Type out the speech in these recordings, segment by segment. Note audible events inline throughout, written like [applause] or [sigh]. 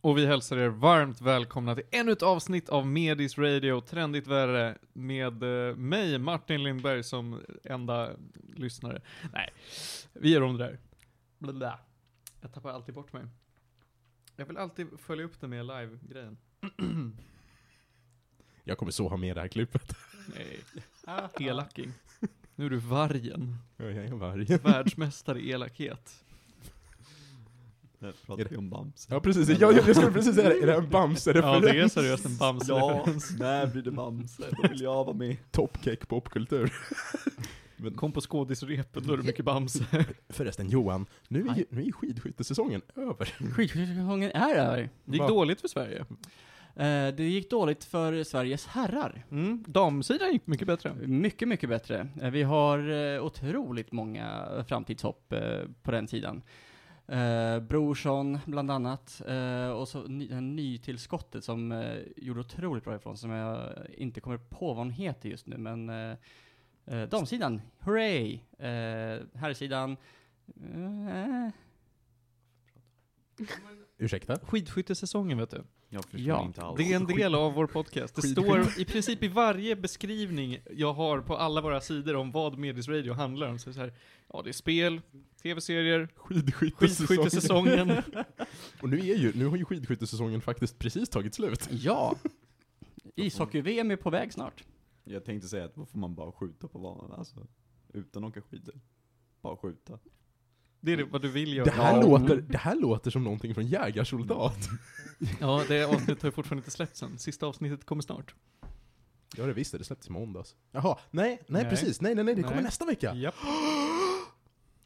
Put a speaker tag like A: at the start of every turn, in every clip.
A: Och vi hälsar er varmt välkomna till ännu ett avsnitt av Medis Radio, trendigt värre, med eh, mig, Martin Lindberg, som enda lyssnare. Nej, vi gör om det där. Blada. Jag tappar alltid bort mig. Jag vill alltid följa upp det med live-grejen.
B: Jag kommer så ha med det här klippet.
A: Nej, Ah, [laughs] elaking. Nu är du [laughs] vargen.
B: Jag är en varg.
A: Världsmästare i elakhet.
C: Nej, pratar vi om Bamse?
B: Ja precis, jag, jag skulle precis säga det. Är det en
A: Ja,
B: Bamse-referens?
A: det är seriöst en
C: Ja,
A: Bamse-referens.
C: [laughs] när blir det Bamse? Då vill jag vara med.
B: Toppcake popkultur.
A: Kom på skådisrepet, då är det mycket Bamse. [laughs]
B: Förresten Johan, nu är, ju- nu är ju skidskyttesäsongen över.
D: Skidskyttesäsongen är över.
A: Det gick
B: Va?
A: dåligt för Sverige.
D: Eh, Det gick dåligt för Sveriges herrar.
A: Mm, damsidan gick mycket bättre.
D: Mycket, mycket bättre. Eh, Vi har eh, otroligt många framtidshopp eh, på den sidan. Eh, Brorsson, bland annat. eh, Och så ny- det här nytillskottet som eh, gjorde otroligt bra ifrån som jag inte kommer på vad hon heter just nu, men eh, eh, damsidan, hooray! Eh, Herrsidan, eh,
B: Ursäkta?
A: Skidskyttesäsongen vet du.
C: Jag förstår
D: Ja,
C: inte alls.
A: Det är en del av vår podcast. Det står i princip i varje beskrivning jag har på alla våra sidor om vad Medis Radio handlar om. Så är det så här, ja det är spel, tv-serier,
B: Skidskyttesäsongen.
A: skidskyttesäsongen.
B: [laughs] Och nu, är ju, nu har ju skidskyttesäsongen faktiskt precis tagit slut.
D: ja! [laughs] Ishockey-VM är på väg snart.
C: Jag tänkte säga att då får man bara skjuta på banan, alltså. Utan att åka skidor. Bara skjuta.
A: Det är det, vad du vill
B: Det
A: göra.
B: här,
D: Ja.
B: låter, det här låter som någonting från Jägarsoldat.
A: Ja, det avsnittet har ju fortfarande inte släppts än. Sista avsnittet kommer snart.
B: Ja det visste det släpptes i måndags. Jaha, nej, nej,
A: Nej.
B: precis, nej, nej, nej, det kommer
A: Nej.
B: nästa vecka. [gasps]
A: Japp,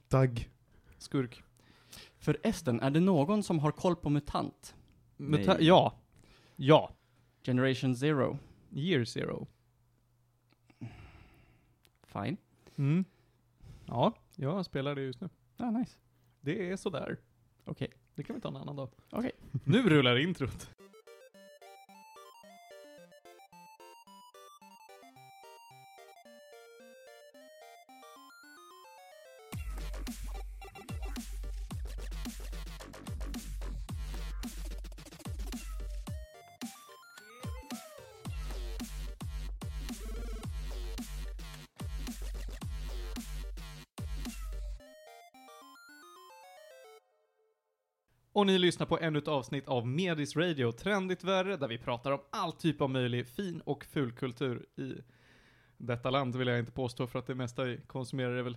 B: Dag.
A: skurk.
D: Förresten, är det någon som har koll på MUTANT?
A: Muta-
C: Nej.
A: ja. Ja.
D: Generation Zero?
A: Year zero.
D: Fine.
A: Mm. Ja, jag spelar det just nu.
D: Ah, nice.
A: Det är sådär.
D: Okej.
A: Det kan vi ta en annan [laughs] dag.
D: Okej.
A: Nu rullar introt. Och ni lyssnar på ännu ett avsnitt av Medis Radio, trendigt värre, där vi pratar om all typ av möjlig fin och fulkultur i detta land, vill jag inte påstå, för att det mesta vi konsumerar är väl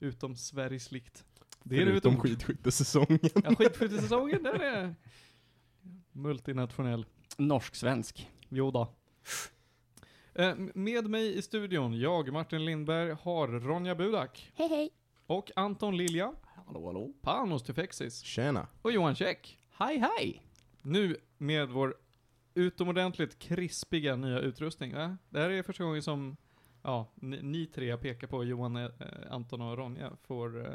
A: utom Sveriges likt. Det är det
B: Förutom
A: utom
B: skidskyttesäsongen.
A: ja, skidskyttesäsongen, den är multinationell.
D: Norsk-svensk.
A: Jo då. Eh, Med mig i studion, jag, Martin Lindberg, har Ronja Budak. Hej hej. Och Anton Lilja,
C: Hallå hallå?
A: Panos Tufexis
B: Tjena.
A: och Johan Käck.
D: Hej, hej!
A: Nu med vår utomordentligt krispiga nya utrustning. Va? Det här är första gången som ja, ni, ni tre jag pekar på, Johan, eh, Anton och Ronja, får eh,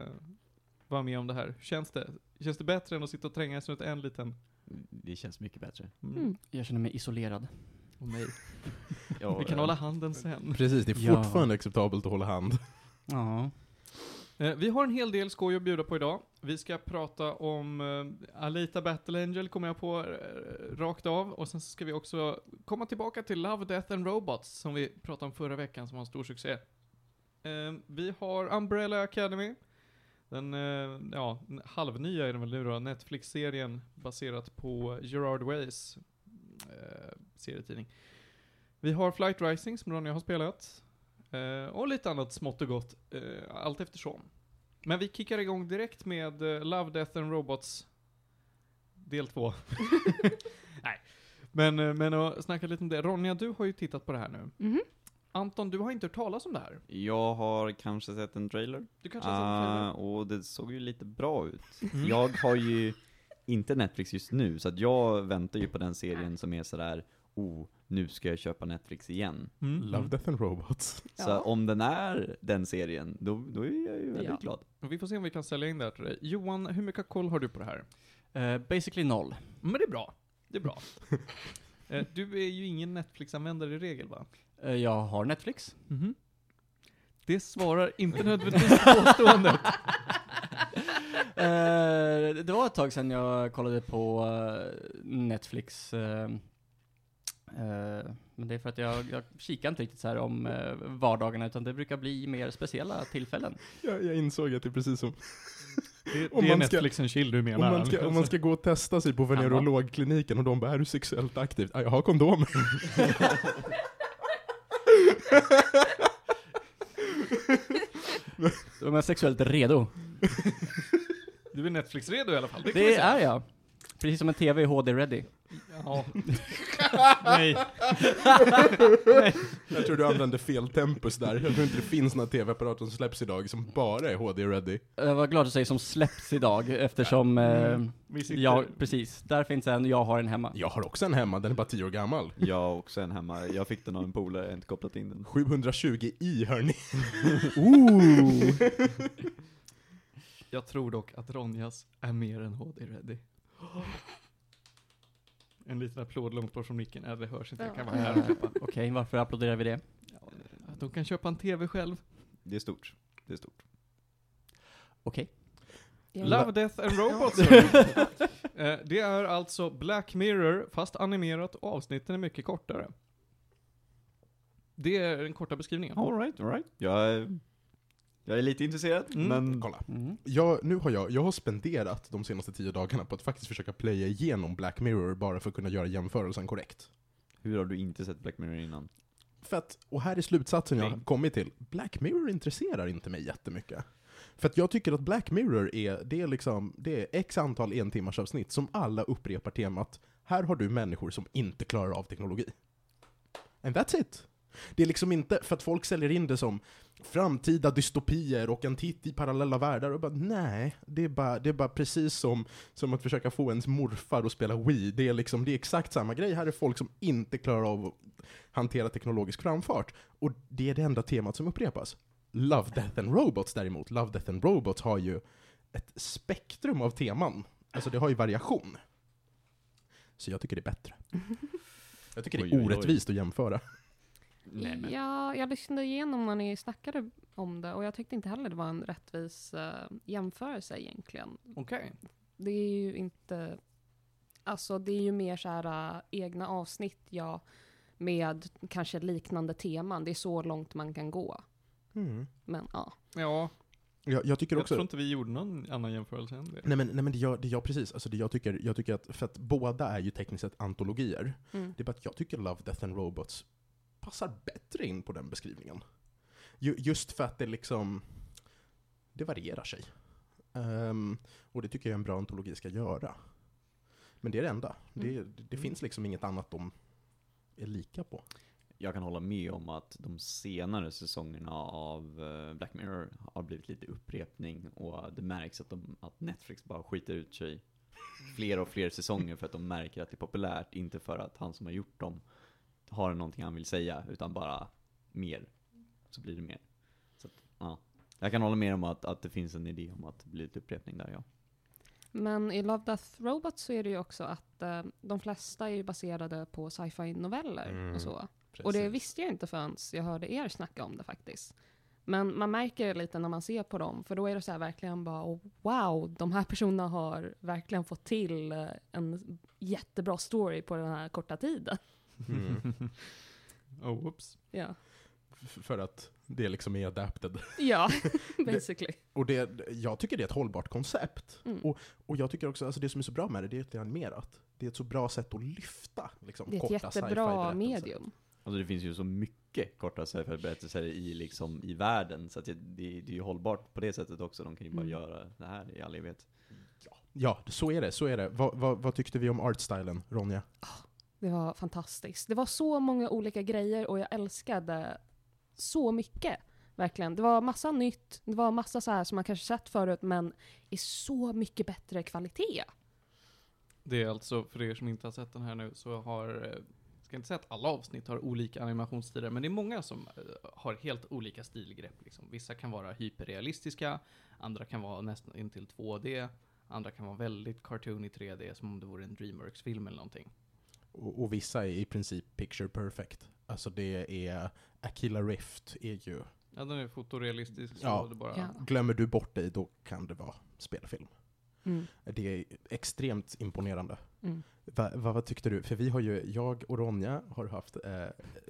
A: vara med om det här. Hur Känns det? Känns det bättre än att sitta och trängas runt en liten?
C: Det känns mycket bättre.
A: Mm.
E: Mm.
D: Jag känner mig isolerad.
A: Och nej.
C: Ja,
A: Vi kan
C: eh,
A: hålla handen sen.
B: Precis, det är
D: Ja.
B: fortfarande acceptabelt att hålla hand.
D: Ja.
A: Eh, vi har en hel del skoj att bjuda på idag. Vi ska prata om eh, Alita Battle Angel, kommer jag på eh, rakt av. Och sen så ska vi också komma tillbaka till Love, Death and Robots, som vi pratade om förra veckan, som var en stor succé. Eh, vi har Umbrella Academy. Den eh, ja, n- halvnya är den väl nu då, Netflix-serien baserat på Gerard Ways eh, serietidning. Vi har Flight Rising, som Ronja har spelat. Eh, och lite annat smått och gott, eh, allt eftersom. Men vi kickar igång direkt med eh, Love, Death and Robots del 2. [laughs] Nej, men, eh, men att snacka lite om det. Ronja, du har ju tittat på det här nu.
E: Mhm.
A: Anton, du har inte hört talas om det här.
C: eh, Jag har kanske sett en trailer.
A: Du kanske har sett
C: Ah,
A: filmen?
C: och det såg ju lite bra ut.
A: Mm.
C: Jag har ju inte Netflix just nu, så att jag väntar ju på den serien som är sådär, oh, nu ska jag köpa Netflix igen.
A: Mm.
B: Ah, Love, Death and Robots. [laughs]
C: Så
E: Ja.
C: om den är den serien, då, då är jag ju väldigt
D: Ja.
C: glad.
A: Och Vi får se om vi kan sälja in det här till dig. Johan, hur mycket koll har du på det här?
D: Eh, basically noll.
A: Men det är bra. Det är
B: [laughs]
A: bra. Eh, du är ju ingen Netflix-användare i regel, va?
D: Eh, jag har Netflix.
B: Mhm. [laughs]
A: Det svarar inte nödvändigtvis påståendet.
D: [laughs] Eh, det var ett tag sedan jag kollade på eh, Netflix. eh, eh, men det är för att jag, jag kikar inte riktigt så här om eh, vardagarna, utan det brukar bli mer speciella tillfällen.
B: Jag, jag insåg att det är precis som
A: Det,
B: Om
A: det är
B: man ska-
A: Netflix and chill du
B: om
A: menar. liksom
B: man, ska, om man ska gå och testa sig på venerologkliniken och de bara, är du sexuellt aktiv? Ja, jag har kondom.
D: Om jag är sexuellt redo.
A: Du är Netflix-redo i alla fall. Det, kan vi
D: Det
A: säga.
D: är jag. Precis som en TV är HD ready.
A: Ja. [laughs] Nej.
B: Jag tror du använde fel tempus där. Jag tror inte det finns några tv-apparater som släpps idag som bara är HD-ready.
D: Jag var glad att säga som släpps idag, eftersom eh,
A: Vi Mm. sitter...
D: jag, precis, där finns en, jag har en hemma.
B: Jag har också en hemma, den är bara 10 år gammal.
C: Jag har också en hemma, jag fick den av en polare, jag har inte kopplat in den.
B: 720i hörni.
A: Jag tror dock att Ronjas är mer än HD-ready. [gasps] En liten applåd långt bort från micken. Nej, det hörs inte. Jag kan vara här och
D: Eh,
A: klippa.
D: Okej, varför applåderar vi det?
A: Att de kan köpa en TV själv.
C: Det är stort. Det är stort.
D: Okej.
A: Love, Death and Robots. hörni. Eh, det är alltså Black Mirror, fast animerat och avsnitten är mycket kortare. Det är den korta beskrivningen.
C: Alright, alright. Jag är, jag är lite intresserad,
A: Mm.
C: men...
B: Kolla.
D: Mm.
B: Jag, nu har jag, jag har spenderat de senaste 10 dagarna på att faktiskt försöka playa igenom Black Mirror bara för att kunna göra jämförelsen korrekt.
C: Hur har du inte sett Black Mirror innan?
B: För att, och här är slutsatsen jag har kommit till, Black Mirror intresserar inte mig jättemycket. För att jag tycker att Black Mirror är, det är liksom, det är x antal en timmars avsnitt som alla upprepar temat, här har du människor som inte klarar av teknologi. And that's it. Det är liksom inte, för att folk säljer in det som framtida dystopier och en titt i parallella världar och bara nej, det är bara, det är bara precis som, som att försöka få ens morfar att spela Wii. Det är liksom, det är exakt samma grej, här är folk som inte klarar av att hantera teknologisk framfart. Och det är det enda temat som upprepas. Love, Death and Robots däremot, Love, Death and Robots har ju ett spektrum av teman. Alltså det har ju variation. Så jag tycker det är bättre. Jag tycker
C: Oj,
B: det
C: oj,
B: är
C: oj.
B: orättvist att jämföra.
C: Nej, men-
E: Ja, jag lyssnade igenom när ni snackade om det och jag tyckte inte heller det var en rättvis eh, jämförelse egentligen.
A: Okej.
E: Det är ju inte... Alltså det är ju mer så här eh, egna avsnitt, ja, med kanske liknande teman. Det är så långt man kan gå. Men ja.
A: Ja,
B: Jag, jag tycker
A: jag
B: också...
A: tror inte vi gjorde någon annan jämförelse än det.
B: Nej men, nej, men det, gör, det gör precis, alltså det jag tycker, jag tycker att, för att båda är ju tekniskt sett antologier.
E: Mm.
B: Det är bara att jag tycker Love, Death and Robots passar bättre in på den beskrivningen. Ju, just för att det liksom, det varierar sig. Ehm, och det tycker jag en bra antologi ska göra. Men det är det enda. Det,
E: Mm.
B: det finns liksom inget annat de är lika på.
C: Jag kan hålla med om att de senare säsongerna av eh, Black Mirror har blivit lite upprepning och det märks att, de, att Netflix bara skiter ut sig fler och fler säsonger för att de märker att det är populärt, inte för att han som har gjort dem har någonting han vill säga, utan bara mer. Så blir det mer. Så att, ja. Jag kan hålla med om att, att det finns en idé om att det blir lite upprepning där ja.
E: Men i Love, Death, Robots så är det ju också att eh, de flesta är ju baserade på sci-fi noveller
B: Mm.
E: och så. Och det visste jag inte förrän jag hörde er snacka om det faktiskt. Men man märker det lite när man ser på dem, för då är det så här verkligen bara oh, wow, de här personerna har verkligen fått till eh, en jättebra story på den här korta tiden.
B: Mm.
A: [laughs] Oh, whoops.
E: Ja,
B: F- För att det liksom är adapted.
E: [laughs] ja basically.
B: Och det, jag tycker det är ett hållbart koncept.
E: Mm.
B: Och jag tycker också, alltså det som är så bra med det, det är att det är animerat. Det är ett så bra sätt att lyfta liksom,
E: Det är ett
B: korta
E: jättebra
B: sci-fi-berättelser.
E: medium.
C: Alltså det finns ju så mycket korta sci-fi-berättelser i, liksom, i världen, så att det, det, det är ju hållbart på det sättet också. De kan ju bara
E: Mm.
C: göra det här i all evighet.
B: Ja, så är det. Så är det. Vad, vad, vad tyckte vi om artstylen, Ronja?
E: Det var fantastiskt. Det var så många olika grejer och jag älskade så mycket. Verkligen. Det var massa nytt, det var massa så här som man kanske sett förut men i så mycket bättre kvalitet.
A: Det är alltså, för er som inte har sett den här nu, så har, eh, ska inte säga att alla avsnitt har olika animationsstilar, men det är många som eh, har helt olika stilgrepp. Liksom. Vissa kan vara hyperrealistiska, andra kan vara nästan intill 2D, andra kan vara väldigt cartoon i 3D, som om det vore en Dreamworks-film eller någonting.
B: Och, och vissa är i princip picture perfect. Alltså det är... Akilla Rift är ju...
A: Ja, den är fotorealistisk, så
B: Ja.
A: det bara...
E: Ja.
B: Glömmer du bort dig, då kan det vara spelfilm.
E: Mm.
B: Det är extremt imponerande.
E: Mm.
B: Va, va, vad tyckte du? För vi har ju, jag och Ronja har haft eh,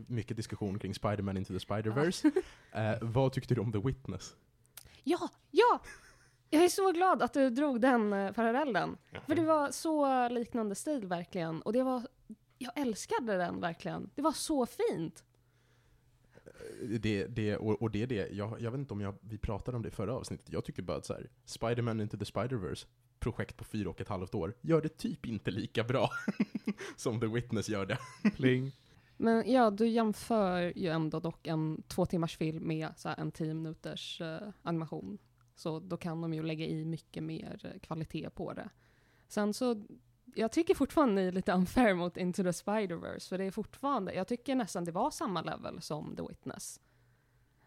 B: mycket diskussion kring Spider-Man Into the Spider-Verse. eh, vad tyckte du om The Witness?
E: Ja, ja! Jag är så glad att du drog den eh, parallellen. För det var så liknande stil verkligen. Och det var, jag älskade den verkligen. Det var så fint.
B: Eh, Det, det, och, och det är det, jag, jag vet inte om jag, vi pratade om det i förra avsnittet, jag tycker bara att så här, Spider-Man Into the Spider-Verse, projekt på fyra och ett halvt år, gör det typ inte lika bra [laughs] som The Witness gör det.
A: Pling.
E: Men ja, du jämför ju ändå dock en två timmars film med så här, en tio minuters eh, animation. Så då kan de ju lägga i mycket mer eh, kvalitet på det. Sen så, jag tycker fortfarande ni är lite [laughs] unfair mot Into the Spider-Verse, för det är fortfarande, jag tycker nästan det var samma level som The Witness.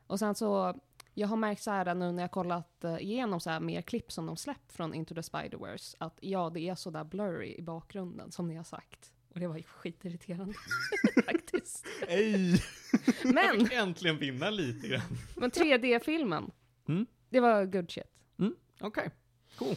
E: Och sen så, jag har märkt så här nu när jag kollat eh, igenom så här mer klipp som de släppt från Into the Spider-Verse, att ja, det är så där blurry i bakgrunden som ni har sagt. Och det var ju skitirriterande [laughs] [laughs] faktiskt.
B: Ej!
A: Jag
E: Men,
A: fick äntligen vinna lite grann.
E: men 3D-filmen,
A: Mm.
E: det var good shit.
A: Okej, cool.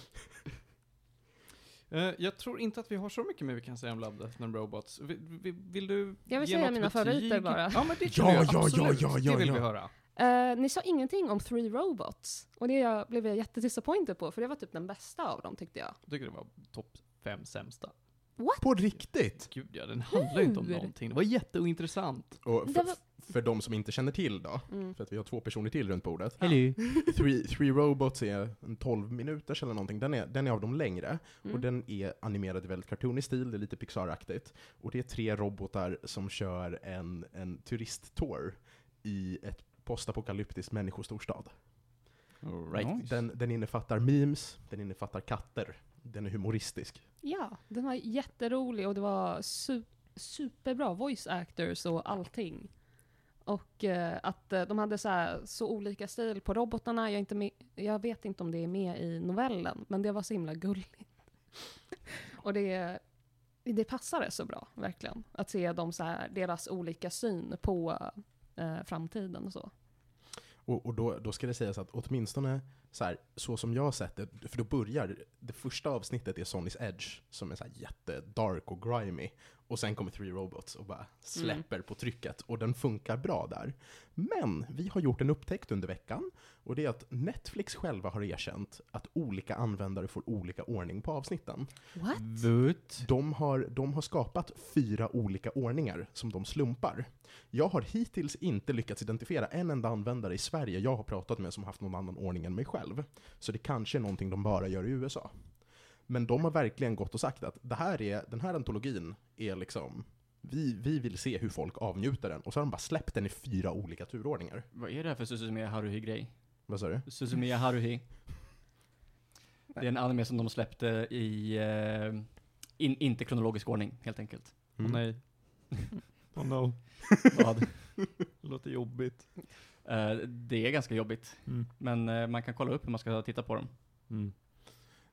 A: Eh, jag tror inte att vi har så mycket mer vi kan säga om Love, Death and Robots. Vi- vi- vill du
E: Jag vill
A: ge
E: säga
A: något
E: mina
A: betyg?
E: favoriter bara.
A: Ja, men det kan
B: Ja,
A: du göra,
B: ja, ja,
A: absolut.
B: ja, ja,
A: Det vill
B: ja.
A: vi höra.
E: Eh, ni sa ingenting om Three Robots, och det jag, blev jag jättedisappointed på, för det var typ den bästa av dem tyckte jag.
A: Jag tycker det var topp fem sämsta.
B: På riktigt!
A: Gud ja, den handlar ju inte om
E: Hur?
A: någonting. Det var jätteointressant.
B: Och
E: Det
B: för,
E: var-
B: för de som inte känner till då,
E: Mm.
B: för att vi har två personer till runt bordet.
D: Hello.
B: Three, Three Robots är en 12 minuters eller någonting, den är, den är av de längre.
E: Mm.
B: Och den är animerad i väldigt cartoonig stil, det är lite Pixar-aktigt. Och det är tre robotar som kör en, en turisttour i ett postapokalyptiskt människostorstad.
C: All right.
D: Nice.
B: Den, den innefattar memes, den innefattar katter, den är humoristisk.
E: Ja, den var jätterolig och det var su- superbra voice actors och allting. Och eh, att eh, de hade så, här, så olika stil på robotarna, jag, är inte med, jag vet inte om det är med i novellen, men det var så himla gulligt. [laughs] och det, det passade så bra, verkligen. Att se dem så här, deras olika syn på eh, framtiden och så.
B: Och, och då, då ska det sägas att åtminstone så, här, så som jag har sett det, för då börjar det första avsnittet är Sonys Edge som är så här jättedark och grimy. Och sen kommer Three Robots och bara släpper på trycket och den funkar bra där. Men vi har gjort en upptäckt under veckan och det är att Netflix själva har erkänt att olika användare får olika ordning på avsnitten.
E: What?
D: Vut.
B: De har, de har skapat fyra olika ordningar som de slumpar. Jag har hittills inte lyckats identifiera en enda användare i Sverige jag har pratat med som haft någon annan ordning än mig själv. Så det kanske är någonting de bara gör i USA. Men de har verkligen gått och sagt att det här är, den här antologin är liksom, vi, vi vill se hur folk avnjuter den. Och så har de bara släppt den i fyra olika turordningar.
D: Vad är det här för Suzumiya Haruhi-grej?
B: Vad sa du?
A: [laughs]
D: Suzumiya Haruhi. Det är en anime som de släppte i, eh, in, inte kronologisk ordning helt enkelt.
A: Åh nej. Åh no.
D: Vad?
A: [laughs] Låter jobbigt.
D: Eh, det är ganska jobbigt,
A: Mm.
D: men eh, man kan kolla upp hur man ska titta på dem.
A: [laughs]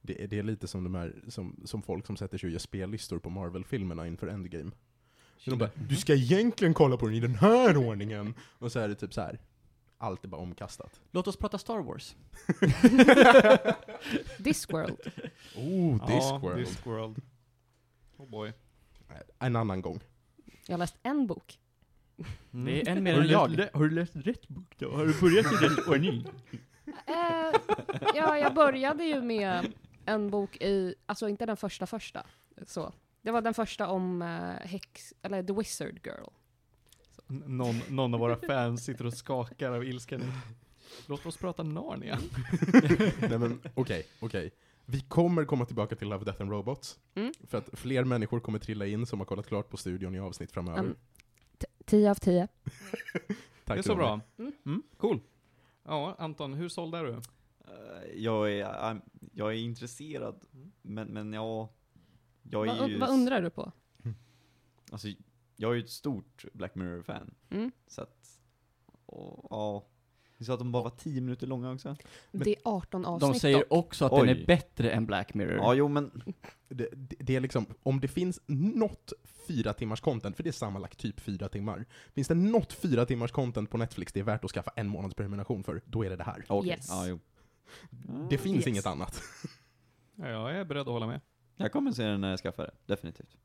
B: Det, är- det är lite som, de här, som, som folk som sätter sig och gör spellistor på Marvel-filmerna inför Endgame. Så de bara,
A: Mm.
B: du ska egentligen kolla på den i den här ordningen! Och så är det typ så här. allt är bara omkastat.
D: Låt oss prata Star Wars.
E: Discworld.
B: Oh, Discworld.
A: Ja, Discworld. Oh boy.
B: En annan gång.
E: Jag har läst en bok.
A: [laughs]
D: Det är en mer än jag.
A: Mm. har du läst rätt bok då? Har du börjat i rätt ordning? [laughs]
E: Eh, ja, jag började ju med en bok i, alltså inte den första första. Så. Det var den första om eh, Hex, eller The Wizard Girl.
A: Någon, någon av våra fans sitter och skakar av ilska nu. Låt oss prata Narnia.
B: Nej men okej, okej. Vi kommer komma tillbaka till Love, Death and Robots.
E: Mm.
B: För att fler människor kommer trilla in som har kollat klart på studion i avsnitt framöver.
E: Mm. Tio av tio.
B: Tack
A: det är så
B: Ronny.
A: bra.
E: Mm.
A: Mm, cool. Ja, Anton, hur såld är du?
C: Eh, Jag är, I'm- jag är intresserad, men, men ja, jag är
E: Vad,
C: ju...
E: vad undrar du på?
C: Alltså, jag är ju ett stort Black Mirror-fan,
E: Mm.
C: så att... Och, ja. Du sa att de bara var 10 minuter långa också?
B: Men-
E: det är 18 avsnitt
D: De säger också att den
C: Oj.
D: är bättre än Black Mirror.
C: Ja, jo men...
B: Det, det det är liksom, om det finns något fyra timmars content, för det är sammanlagt typ fyra timmar. Finns det något fyra timmars content på Netflix det är värt att skaffa en månads prenumeration för, då är det det här.
C: Okej.
E: Mm. Yes.
C: Ja, jo.
B: Det finns
E: Yes.
B: inget annat.
A: Ja, jag är beredd att hålla med.
C: Jag kommer se den när jag skaffar det, definitivt.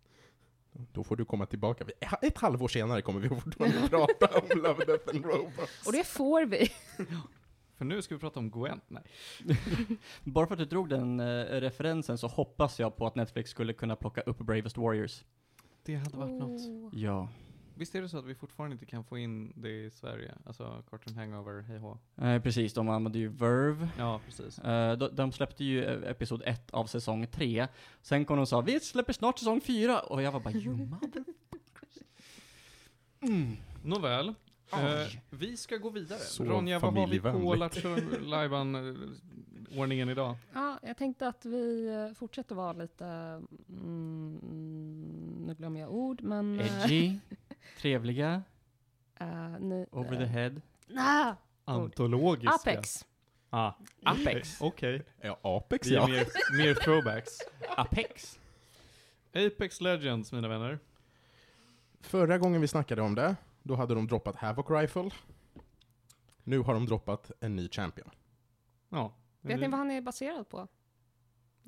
B: Då får du komma tillbaka. Ett halvår senare kommer vi [laughs] fortfarande prata om Love, Death and Robots.
E: Och det får vi.
A: För nu ska vi prata om Gwent. Nej.
D: [laughs] Bara för att du drog den eh, referensen så hoppas jag på att Netflix skulle kunna plocka upp Bravest Warriors.
A: Det hade varit något.
E: Oh.
D: Ja.
A: Visst är det så att vi fortfarande inte kan få in det i Sverige? Alltså, Cartoon Hangover, hej hå.
D: Eh, precis, de använde ju Verve.
A: Ja, precis.
D: Eh, de, de släppte ju eh, episod 1 av säsong 3. Sen kom de och sa vi släpper snart säsong 4 och jag var bara you mother... Mm.
A: Nåväl. Eh,
D: Oj.
A: vi ska gå vidare.
B: Så
A: Ronja, vad har vi på
B: familjevänligt.
A: Lattjo- Lajban-ordningen idag?
E: Ja, jag tänkte att vi eh, fortsätter vara lite... Mm, nu glömmer jag ord, men... eh,
D: Edgy, trevliga,
E: eh, ni,
D: over the
E: eh,
D: head.
E: nah,
A: Antologiska.
E: Apex.
A: Ah,
D: Apex.
A: Okej.
B: Ja, Apex
A: Vi är
B: ja.
A: mer, mer throwbacks.
D: Apex.
A: Apex Legends, mina vänner.
B: Förra gången vi snackade om det, då hade de droppat Havoc Rifle. Nu har de droppat en ny champion.
A: Ja. Eh,
E: Vet
D: Mm.
E: ni vad han är baserad på?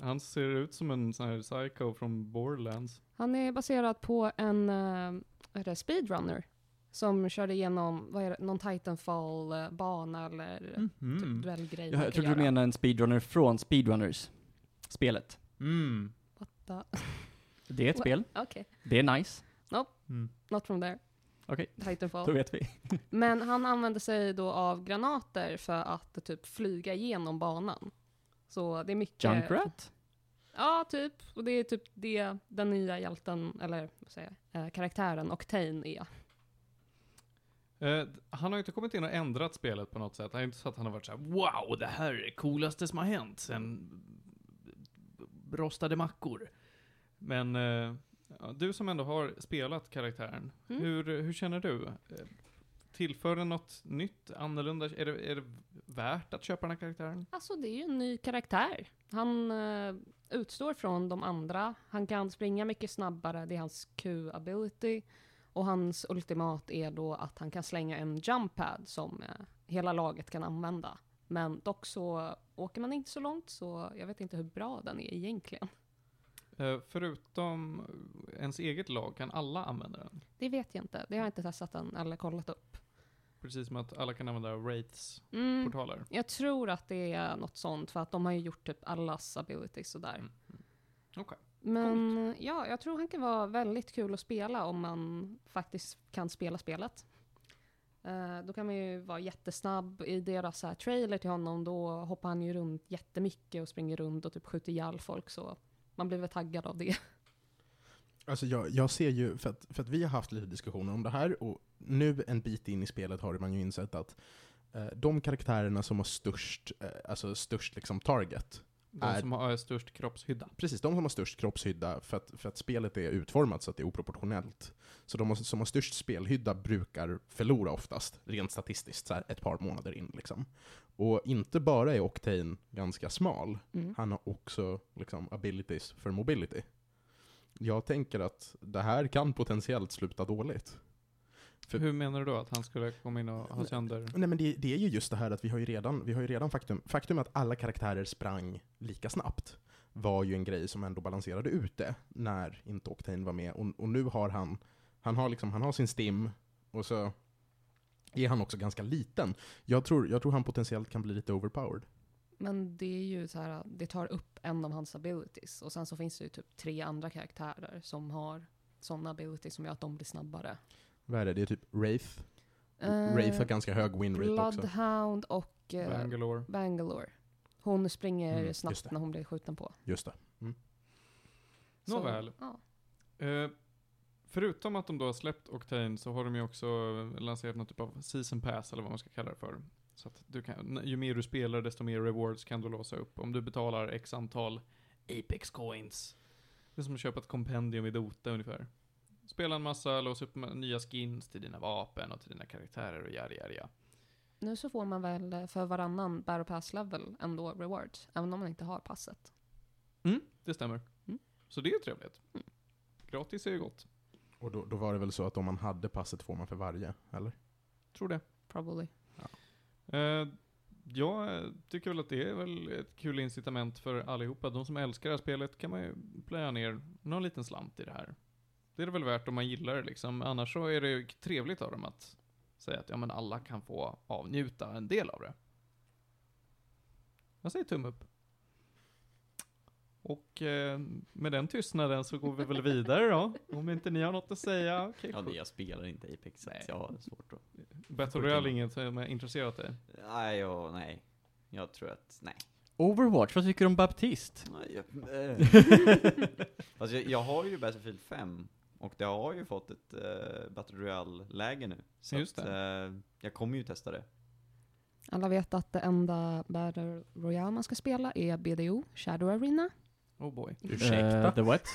A: Han ser ut som en sån här psycho från Borderlands.
E: Han är baserad på en eh, vad heter det, speedrunner som körde igenom vad är det, någon Titanfall-bana eller typ
A: Mm-hmm.
E: duellgrej. man
D: Mm. Jag, jag trodde
E: kan
D: du
E: göra.
D: menade en speedrunner från Speedrunners. Spelet.
A: Mm.
E: What the-
D: Det är ett
E: Wha-
D: spel,
E: Okej,
D: det är nice.
A: Mm.
E: not from there.
D: Okej. Då
E: Titanfall.
D: vet vi.
E: Men han använde sig då av granater för att typ flyga igenom banan. Så det är mycket...
D: Junkrat?
E: Ja, typ. Och det är typ det den nya hjälten, eller vad säger jag, eh, karaktären Octane är.
A: Eh, d- han har ju inte kommit in och ändrat spelet på något sätt. Det är inte så att han har varit så här: wow, det här är det coolaste som har hänt sen rostade mackor. Men eh, ja, du som ändå har spelat karaktären,
E: Mm.
A: hur, hur känner du? Eh, Tillför den något nytt, annorlunda? Är det, är det värt att köpa den här karaktären?
E: Alltså det är ju en ny karaktär. Han eh, utstår från de andra. Han kan springa mycket snabbare, det är hans Q-ability. Och hans ultimat är då att han kan slänga en jump pad som eh, hela laget kan använda. Men dock så åker man inte så långt så jag vet inte hur bra den är egentligen.
A: Eh, förutom ens eget lag, kan alla använda den?
E: Det vet jag inte, det har jag inte testat än eller kollat upp.
A: Precis som att alla kan använda Wraiths
E: Mm,
A: portaler.
E: jag tror att det är något sånt för att de har ju gjort typ allas abilities sådär.
A: Mm. Okej.
E: Men ja, jag tror han kan vara väldigt kul att spela om man faktiskt kan spela spelet. Eh, då kan man ju vara jättesnabb. I deras så här, trailer till honom då hoppar han ju runt jättemycket och springer runt och typ skjuter ihjäl folk så man blir väl taggad av det.
B: Alltså jag, jag ser ju, för att, för att vi har haft lite diskussioner om det här och nu en bit in i spelet har man ju insett att eh, de karaktärerna som har störst, eh, alltså störst liksom target,
A: De
B: Är-
A: som har störst kroppshydda.
B: precis de som har störst kroppshydda för att, för att spelet är utformat så att det är oproportionellt. Så de har- som har störst spelhydda brukar förlora oftast, rent statistiskt, så här ett par månader in liksom. Och inte bara är Octane ganska smal, han har också liksom abilities för mobility. Jag tänker att det här kan potentiellt sluta dåligt. För-
A: Hur menar du då att han skulle komma in och ha sönder?
B: Nej men det, det är ju just det här att vi har ju redan, vi har ju redan faktum, faktum att alla karaktärer sprang lika snabbt var ju en grej som ändå balanserade ut det när inte Octane var med. Och, och nu har han, han har liksom, han har sin stim och så är han också ganska liten. Jag tror, jag tror han potentiellt kan bli lite overpowered.
E: Men det är ju så här, eh, det tar upp en av hans abilities och sen så finns det ju typ tre andra karaktärer som har sådana abilities som gör att de blir snabbare.
B: Vad är det? Det är typ Wraith.
E: Eh,
B: Wraith har ganska hög win rate också.
E: Bloodhound och eh,
A: Bangalore.
E: Bangalore. Hon springer
B: Mm, just
E: snabbt
B: det.
E: när hon blir skjuten på.
B: Just det.
E: Så,
A: Nåväl.
E: Ja.
A: Eh, förutom att de då har släppt Octane så har de ju också eh, lanserat någon typ av season pass eller vad man ska kalla det för. Så att du kan, ju mer du spelar desto mer rewards kan du låsa upp. Om du betalar x antal Apex coins. Det är som att köpa ett kompendium i Dota ungefär. Spela en massa, låsa upp ma- nya skins till dina vapen och till dina karaktärer och jari jari ja.
E: Nu så får man väl eh, för varannan battle pass level ändå rewards, även om man inte har passet.
A: Det stämmer.
E: Mm.
A: Så det är ju trevligt. Gratis är ju gott.
B: Och då, då var det väl så att om man hade passet får man för varje, eller?
A: Tror det.
E: Probably.
A: Eh, jag eh, tycker väl att det är väl ett kul incitament för allihopa. De som älskar det här spelet kan man ju plöja ner någon liten slant i det här. Det är det väl värt om man gillar det liksom. Annars så är det ju trevligt av dem att säga att ja men alla kan få avnjuta en del av det. Jag säger tumme upp. Och eh, med den tystnaden så går vi väl vidare då. Om inte ni har något att säga. Okay,
C: Ja, det, jag spelar inte Apex, så
A: Nej.
C: att jag har svårt att...
A: Battle Royale är inget som har intresserat dig.
C: Nej, jag, nej. Jag tror att, nej.
D: Eh, Overwatch, vad tycker du om Baptist?
C: Nej, [laughs] jag- eh. alltså, jag, jag har ju Battlefield 5 och det har ju fått ett eh, Battle Royale-läge nu. Så
A: Just
C: att, eh, jag kommer ju testa det.
E: Alla vet att det enda Battle Royale man ska spela är BDO, Shadow Arena.
A: Oh boy.
D: Eh, the what?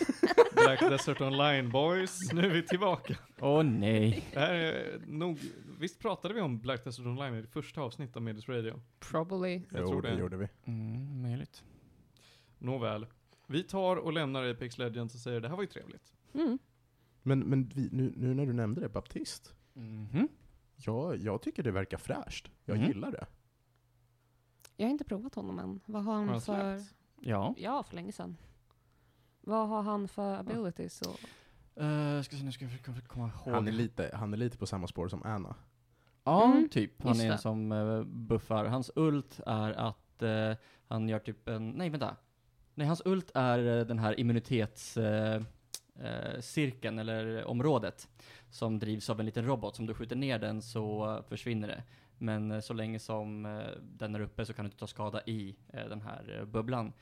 A: Black Desert Online boys, nu är vi tillbaka.
D: Åh nej.
A: Det här är nog, visst pratade vi om Black Desert Online i det första avsnittet av Medis Radio?
E: Probably.
A: Jag tror det.
B: gjorde vi.
D: Mm, möjligt.
A: Nåväl. Vi tar och lämnar Apex Legends och säger det här var ju trevligt.
E: Mm.
B: Men, men vi, nu, nu när du nämnde det, baptist.
D: Mhm.
B: Jag, jag tycker det verkar fräscht. Jag
D: Mm.
B: gillar det.
E: Jag har inte provat honom än. Vad har han,
A: Har han
E: för...
A: släppt?
D: Ja.
E: Ja, för länge sedan. Vad har han för abilities? Och...
D: Uh, ska se, nu ska jag försöka komma ihåg.
B: Han är, lite, han är lite på samma spår som Anna.
D: Ja,
E: Mm,
D: typ. Han
E: just
D: är en
E: det.
D: som eh, buffar. Hans ult är att eh, han gör typ en, nej vänta. Nej, hans ult är eh, den här immunitetscirkeln eh, cirkeln eller området som drivs av en liten robot. Som du skjuter ner den så eh, försvinner det. Men eh, så länge som eh, den är uppe så kan du inte ta skada i eh, den här eh, bubblan.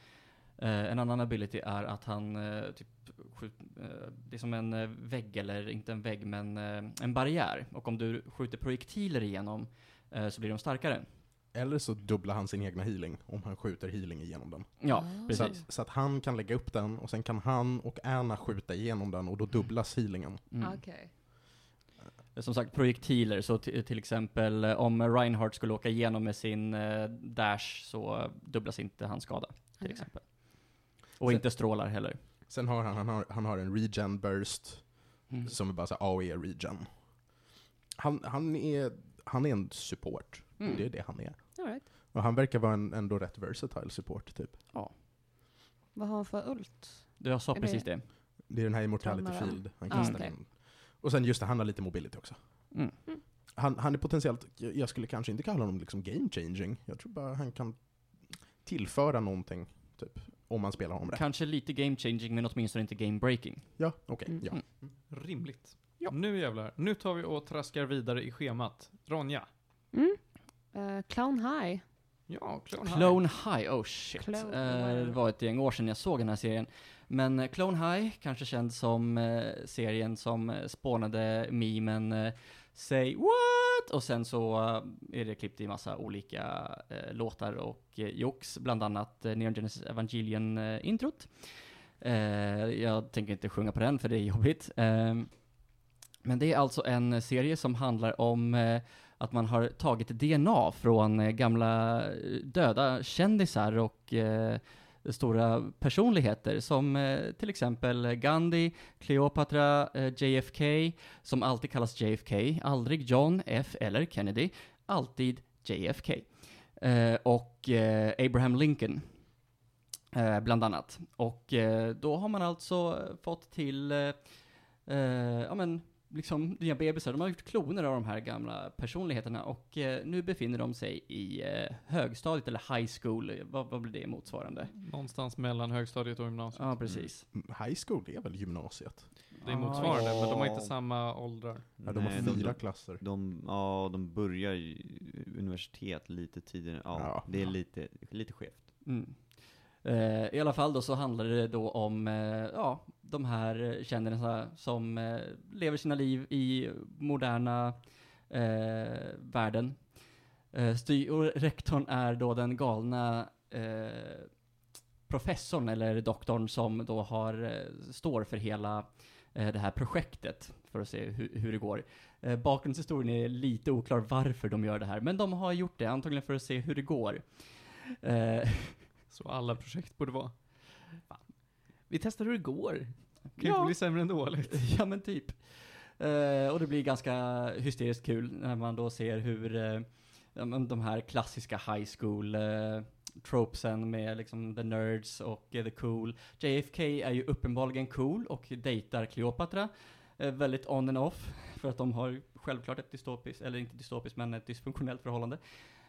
D: Eh, en annan ability är att han eh, typ skjut, eh, det är som en eh, vägg, eller inte en vägg, men eh, en barriär. Och om du skjuter projektiler igenom eh, så blir de starkare.
B: Eller så dubblar han sin egna healing om han skjuter healing igenom den.
D: Ja,
E: Ah.
B: Så
D: precis.
B: att, så att han kan lägga upp den och sen kan han och Anna skjuta igenom den och då dubblas healingen.
D: Mm.
E: Okej.
D: Som sagt, projektiler. Så ti- till exempel eh, om Reinhardt skulle åka igenom med sin eh, dash så eh, dubblas inte hans skada, till
E: Okej.
D: exempel. Och
B: Så-
D: inte strålar heller.
B: Sen har han, han, har, han har en regen burst
D: Mm.
B: som är bara så här AOE regen. Han, han, är, han är en support.
D: Mm.
B: Det är det han är.
E: All right.
B: Och han verkar vara en ändå rätt versatile support typ.
E: Vad har han för ult?
D: Jag sa
E: Är det-
D: precis det.
B: Det är den här immortality
E: Tränaren.
B: field han
E: Ah,
B: kastar
E: okej.
B: in. Och sen just det, han har lite mobility också.
D: Mm.
B: Han, han är potentiellt, jag jag skulle kanske inte kalla honom liksom game changing. Jag tror bara han kan tillföra någonting, typ. Om man spelar honom rätt.
D: Kanske lite game changing, men åtminstone inte game breaking.
B: Ja, okej.
E: Mm.
B: ja.
A: Rimligt. Nu jävlar. Nu tar vi och traskar vidare i schemat. Ronja.
E: Mm. Eh, Clown High.
A: Ja, Clone High.
D: Clone High, oh shit.
E: Clone-
D: Eh, det var ett gäng år sedan jag såg den här serien. Men eh, Clone High, kanske känd som eh, serien som eh, spånade memen eh, Say what? Och sen så eh, är det klippt i massa olika eh, låtar och eh, jox, bland annat eh, Neon Genesis Evangelion-introt. Eh, jag tänker inte sjunga på den för det är jobbigt. Eh, men det är alltså en serie som handlar om eh, att man har tagit DNA från eh, gamla eh, döda kändisar och eh, stora personligheter som eh, till exempel Gandhi, Cleopatra, eh, JFK, som alltid kallas JFK, aldrig John F eller Kennedy, alltid JFK. Eh, och eh, Abraham Lincoln. Eh, bland annat. Och eh, då har man alltså eh, fått till, eh, eh, ja men liksom nya bebisar. De har gjort kloner av de här gamla personligheterna och eh, nu befinner de sig i eh, högstadiet eller high school. Vad, vad blir det motsvarande?
A: Någonstans mellan högstadiet och gymnasiet.
D: Ja, precis.
B: Mm, High school är väl gymnasiet?
A: Det är motsvarande, men de har inte
C: Ja.
A: samma åldrar.
B: Ja, de har
C: Nej,
B: fyra
C: de,
B: klasser.
C: de, ja, de börjar ju universitet lite tidigare. Ja,
B: Ja.
C: det är lite, lite skevt.
D: Mm. Eh, I alla fall då så handlar det då om eh, ja, de här eh, kändisarna som eh, lever sina liv i moderna eh, världen. Eh, styr, och rektorn är då den galna eh, professorn eller doktorn som då har, eh, står för hela eh, det här projektet för att se hu- hur det går. Eh, bakgrundshistorien är lite oklar varför de gör det här, men de har gjort det antagligen för att se hur det går. Eh,
A: Så alla projekt borde vara. Vi testar hur det går. Kan
D: Ja.
A: inte bli sämre än dåligt.
D: [laughs] Ja men typ. Eh, och det blir ganska hysteriskt kul när man då ser hur eh, ja, men de här klassiska high school eh, tropesen med liksom the nerds och eh, the cool. JFK är ju uppenbarligen cool och dejtar Cleopatra. Eh, väldigt on and off, [laughs] för att de har ju självklart ett dystopiskt, eller inte dystopiskt, men ett dysfunktionellt förhållande.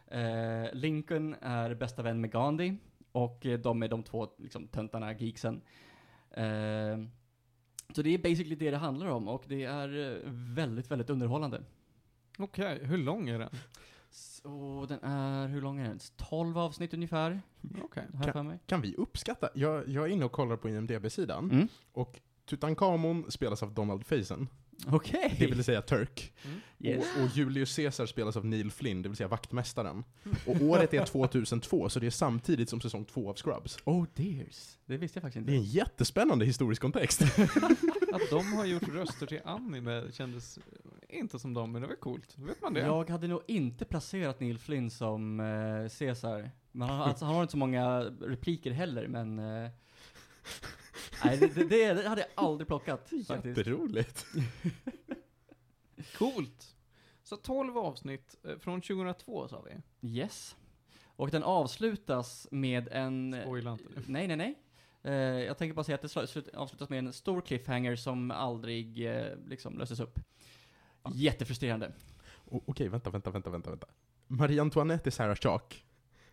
D: Eh, Lincoln är bästa vän med Gandhi och eh, de är de två liksom, töntarna, geeksen. Eh, så det är basically det det handlar om och det är eh, väldigt, väldigt underhållande.
A: Okej, hur lång
D: [laughs]
A: är den?
D: Så den är, hur lång är den? 12 avsnitt ungefär,
A: Okej.
D: har jag för mig.
B: Kan vi uppskatta? Jag, jag är inne och kollar på IMDB-sidan.
D: Mm.
B: Och Tutankhamon spelas av Donald Faison,
D: Okej!
B: det vill säga Turk.
A: Mm.
D: Yes.
B: Och, och Julius Caesar spelas av Neil Flynn, det vill säga vaktmästaren. Och året är 2002, så det är samtidigt som säsong två av Scrubs.
D: Oh dears. Det visste jag faktiskt
B: Det är en
D: inte.
B: jättespännande historisk kontext.
A: Att de har gjort röster till anime kändes eh, inte som dem, men det var coolt. Vet man det?
D: Jag hade nog inte placerat Neil Flynn som eh, Caesar. Men han, alltså, han har inte så många repliker heller, men...
B: [laughs]
D: Eh, nej, det, det, det, det hade jag aldrig plockat faktiskt.
B: Jätteroligt.
A: Coolt! Så 12 avsnitt eh, från 2002 sa vi.
D: Yes. Och den avslutas med en...
A: Spoila inte nu.
D: Nej, nej, nej. Eh, jag tänker bara säga att det slu- slut- avslutas med en stor cliffhanger som aldrig eh, liksom löses upp. Jättefrustrerande.
B: O- Okej, vänta, vänta, vänta, vänta, vänta. Marie Antoinette är Sarah Chalk.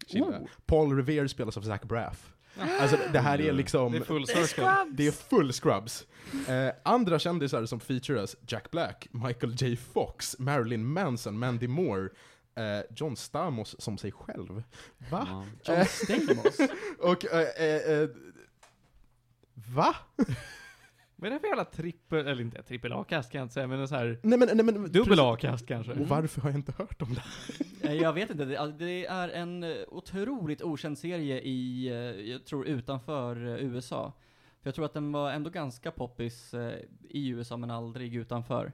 A: Chilla.
B: Paul Revere spelas av Zach Braff.
A: Ja.
B: Alltså det här är liksom...
A: Det är full
E: Det är
A: circle.
B: Det är full scrubs. Eh, andra kändisar som featuras, Jack Black, Michael J Fox, Marilyn Manson, Mandy Moore, eh, John Stamos som sig själv. Va? Eh,
C: Ja.
D: John Stamos.
B: [laughs] Och, eh, eh, eh, va?
A: Vad är det för jävla trippel, eller inte trippel A-kast kan jag inte säga, men en sån här
B: Nej men, nej men...
A: dubbel A-kast kanske.
D: Mm.
B: Och varför har jag inte hört om det?
D: Eh, jag vet inte, det, alltså, det är en eh, otroligt okänd serie i, eh, jag tror utanför eh, USA. För jag tror att den var ändå ganska poppis eh, i USA men aldrig utanför.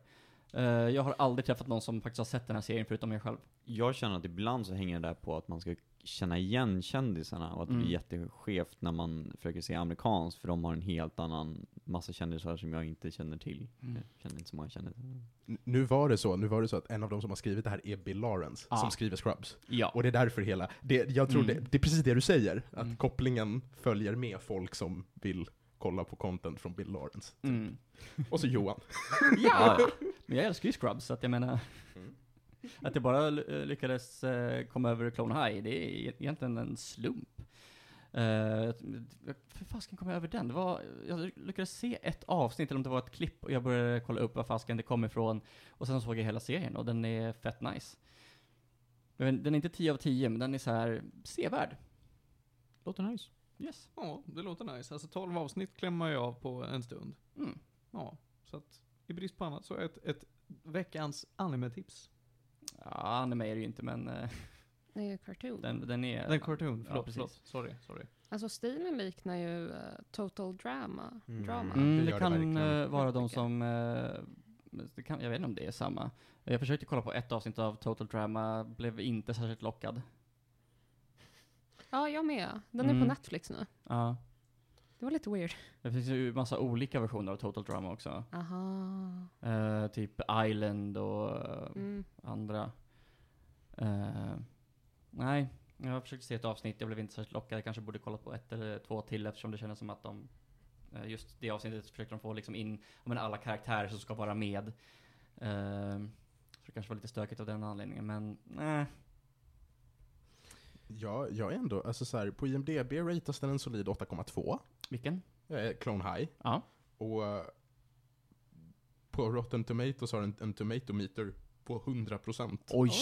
D: Eh, jag har aldrig träffat någon som faktiskt har sett den här serien förutom jag själv.
C: Jag känner att ibland så hänger det där på att man ska känna igen kändisarna och att det blir
D: Mm.
C: jätteskevt när man försöker se amerikanskt för de har en helt annan massa kändisar som jag inte känner till.
D: Mm.
C: Jag känner inte så många kändisar.
B: N- Nu var det så, nu var det så att en av de som har skrivit det här är Bill Lawrence,
D: Ah.
B: som skriver Scrubs.
D: Ja.
B: Och det är därför hela, det, jag tror
D: Mm.
B: det, det är precis det du säger, att
D: Mm.
B: kopplingen följer med folk som vill kolla på content från Bill Lawrence.
D: Mm.
B: Och så Johan.
D: Ja! Men jag älskar ju Scrubs, så att jag menar...
B: Mm.
D: Att jag bara ly- lyckades eh, komma över Clone High, det är e- egentligen en slump. Eh, jag- jag- hur fasken kom jag över den? Det var, jag lyckades se ett avsnitt, eller om det var ett klipp, och jag började kolla upp var fasken det kom ifrån. Och sen såg jag hela serien, och den är fett nice. Jag vet- Den är inte 10 av 10, men den är så här sevärd.
C: Låter nice.
D: Yes.
A: Ja, det låter nice. Alltså 12 avsnitt klämmer jag av på en stund.
D: Mm.
A: Ja, så att i brist på annat så är ett, ett veckans anime-tips.
D: Ja, anime är det ju inte, men eh,
E: Det är ju cartoon.
D: den, den är...
A: Den cartoon, förlåt,
D: precis.
A: förlåt. Sorry, sorry.
E: Alltså stilen liknar ju eh, total drama.
B: Mm.
E: drama.
B: Mm.
D: Mm,
B: det
D: det,
B: gör det
D: kan
B: verkligen.
D: eh, vara de
E: Mycket.
D: som... eh, men det kan, jag vet inte om det är samma. Jag försökte kolla på ett avsnitt av Total Drama, blev inte särskilt lockad.
E: Ja, jag med. Den är
D: Mm.
E: på Netflix nu.
D: Ja.
E: Det var lite weird.
D: Det finns ju massa olika versioner av Total Drama också.
E: Aha.
D: Eh, typ Island och eh,
E: Mm.
D: andra. Eh, nej, jag försökte se ett avsnitt, jag blev inte särskilt lockad. Jag kanske borde kolla på ett eller två till eftersom det kändes som att de... eh, just det avsnittet försökte de få liksom in ja, men alla karaktärer som ska vara med. Eh, så det kanske var lite stökigt av den anledningen, men nej.
B: Ja, jag är ändå, alltså så här, på IMDB ratas den en solid 8,2.
D: Vilken?
B: Eh, Clone High.
D: Ja.
B: Och eh, på Rotten Tomatoes har den en Tomatometer på 100%.
D: Oj!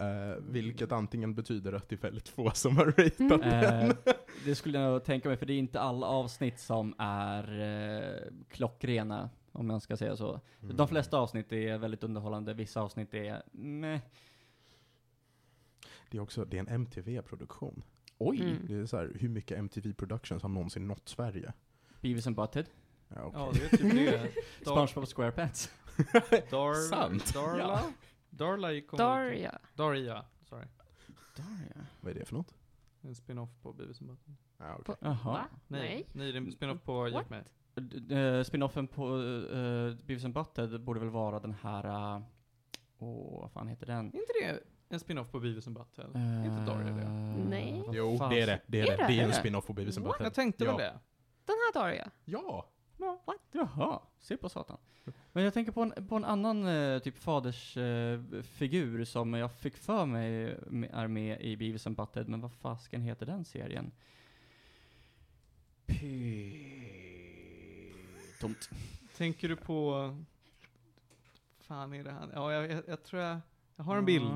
B: Eh, vilket antingen betyder att det är väldigt få som har ratat
D: Eh,
B: den.
D: det skulle jag nog tänka mig, för det är inte alla avsnitt som är eh, klockrena, om man ska säga så. De
B: Mm.
D: flesta avsnitt är väldigt underhållande, vissa avsnitt är meh.
B: Det är också, det är en MTV-produktion.
D: Oj!
E: Mm.
B: Det är så här, hur mycket MTV Productions har någonsin nått Sverige?
D: Beavis and Butthead.
B: Ja, okej.
A: Ja, det är typ
D: [laughs]
A: det. Dar,
D: SpongeBob SquarePants.
A: dar,
B: Sant.
A: Darla? Darla gick hon-
E: Daria.
A: Daria, sorry.
D: Daria.
B: Vad är det för något?
A: En spin-off på Beavis and Butthead.
B: Ja, okej.
E: På-
D: Jaha.
E: Va?
A: Nej,
E: Nej.
A: nej, det är en spin-off på Jack med.
D: D- eh, Spinoffen på uh, Beavis and Butthead borde väl vara den här... eh, Åh, vad fan heter den?
A: Är inte det en spin-off på Beavis and Butthead?
D: Eh,
A: inte Daria det?
E: Nej.
D: vad
B: Jo,
D: fan-
B: det är det. Det är,
E: Är
B: det.
E: det?
B: Det är
E: Är
B: en
E: det?
B: spin-off på Beavis and
E: What?
B: Butthead.
A: Jag tänkte
B: ja.
A: väl det.
E: Den här tar jag.
B: Ja!
D: Jaha, se på satan. Men jag tänker på en, på en annan eh, typ fadersfigur eh, figur som jag fick för mig med, är med i Beavis and Butthead, men vad fasken heter den serien? Py... Tomt.
A: Tänker du på... Fan är det han? Ja, jag, jag, jag tror jag... Jag har en bild.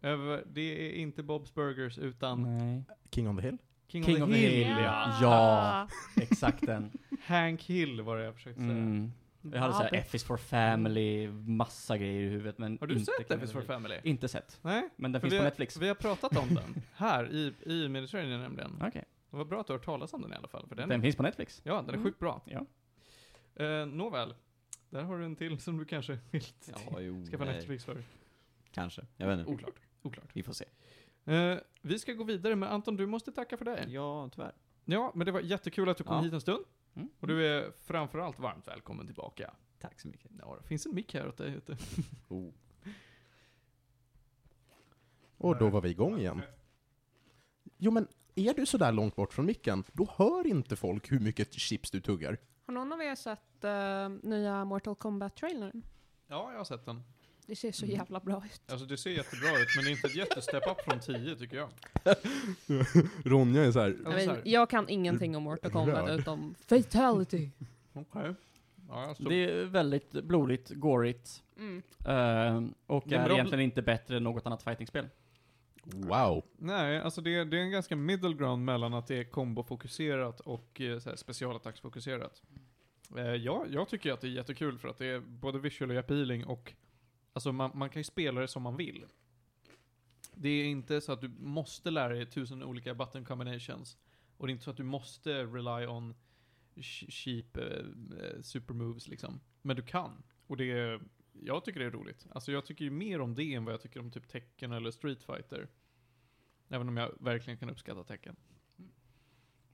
D: Ja.
A: Över, det är inte Bob's Burgers utan
D: Nej.
B: King on the Hill.
A: King,
D: King
A: of the Hill.
D: ja. Ja. Exakt den.
A: Hank Hill var det jag försökte säga.
D: Mm. Jag hade såhär
E: Bobby.
D: F is for family, massa grejer i huvudet men
A: Har du
D: inte
A: sett
D: King
A: F is
D: of the
A: for
D: Hill.
A: Family?
D: Inte sett.
A: Nej,
D: Men den
A: för
D: finns
A: vi,
D: på
A: har-
D: Netflix.
A: vi har pratat om den här i, i Mediterranean nämligen.
D: Okej.
A: Det var bra att du har hört talas om den i alla fall. För den,
D: Den, finns på Netflix.
A: ja, den är
E: Mm.
A: sjukt bra.
D: Ja.
A: Eh, nåväl, där har du en till som du kanske vill
C: Ja, jo,
A: skaffa
C: nej.
A: Netflix för.
C: Kanske. Jag vet inte.
A: Oklart. Oklart.
C: Vi får se.
A: Eh, vi ska gå vidare, men Anton du måste tacka för dig.
C: Ja, tyvärr.
A: Ja, men det var jättekul att du kom
C: Ja.
A: hit en stund.
D: Mm.
A: Och du är framförallt varmt välkommen tillbaka.
C: Tack så mycket.
A: Ja, det finns en mick här åt dig ute.
C: Oh.
B: Och då var vi igång igen. Jo men, är du sådär långt bort från micken, då hör inte folk hur mycket chips du tuggar.
E: Har någon av er sett eh, nya Mortal Kombat-trailern?
A: Ja, jag har sett den.
E: Det ser så
D: Mm.
E: jävla bra ut.
A: Alltså det ser jättebra ut, men det är inte ett jättestep up från 10 tycker jag.
B: [laughs] Ronja är såhär,
A: Ja, men så här.
E: Jag, vet, jag kan ingenting om Mortal Kombat
B: Rörd.
E: utom fatality.
A: Okej. Ja, alltså,
D: Det är väldigt blodigt, gorigt.
E: Mm.
D: eh, och
A: Det är
D: är
A: bra-
D: egentligen inte bättre än något annat fightingspel.
B: wow.
A: Nej, alltså det, det är en ganska middle ground mellan att det är kombofokuserat och eh, så här, specialattacksfokuserat. Eh, ja, jag tycker att det är jättekul för att det är både visually appealing och alltså man, man kan ju spela det som man vill. Det är inte så att du måste lära dig tusen olika button combinations. Och det är inte så att du måste rely on sh- cheap eh, eh, supermoves liksom. Men du kan. Och det är, jag tycker det är roligt. Alltså jag tycker ju mer om det än vad jag tycker om typ Tekken eller Street Fighter. Även om jag verkligen kan uppskatta tecken.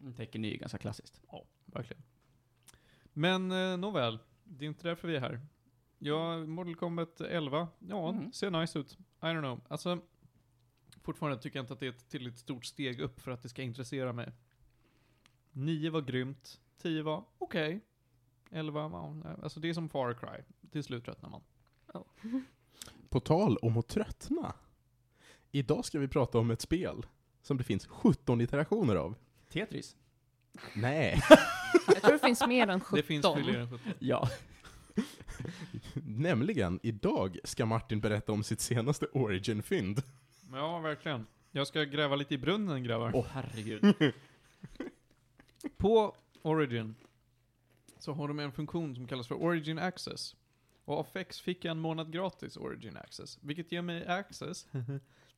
A: Mm.
D: Tekken är ju ganska klassiskt.
A: Verkligen. Men eh, nåväl, det är inte därför vi är här. Ja, Mortal Kombat 11, ja,
D: Mm.
A: ser nice ut. I don't know. Alltså, fortfarande tycker jag inte att det är ett tillräckligt stort steg upp för att det ska intressera mig. 9 var grymt, 10 var okej. 11, ja, nej. alltså det är som Far Cry. Till slut tröttnar man.
E: Oh.
B: På tal om att tröttna. Idag ska vi prata om ett spel som det finns 17 iterationer av.
D: Tetris?
B: Nej.
E: Jag tror det finns mer än 17.
A: Det finns fler än 17.
D: Ja.
B: [laughs] Nämligen, idag ska Martin berätta om sitt senaste origin-fynd.
A: Ja, verkligen. Jag ska gräva lite i brunnen, grabbar.
D: Åh herregud.
A: På Origin så har de en funktion som kallas för Origin Access. Och av Fex fick jag en månad gratis Origin Access, vilket ger mig access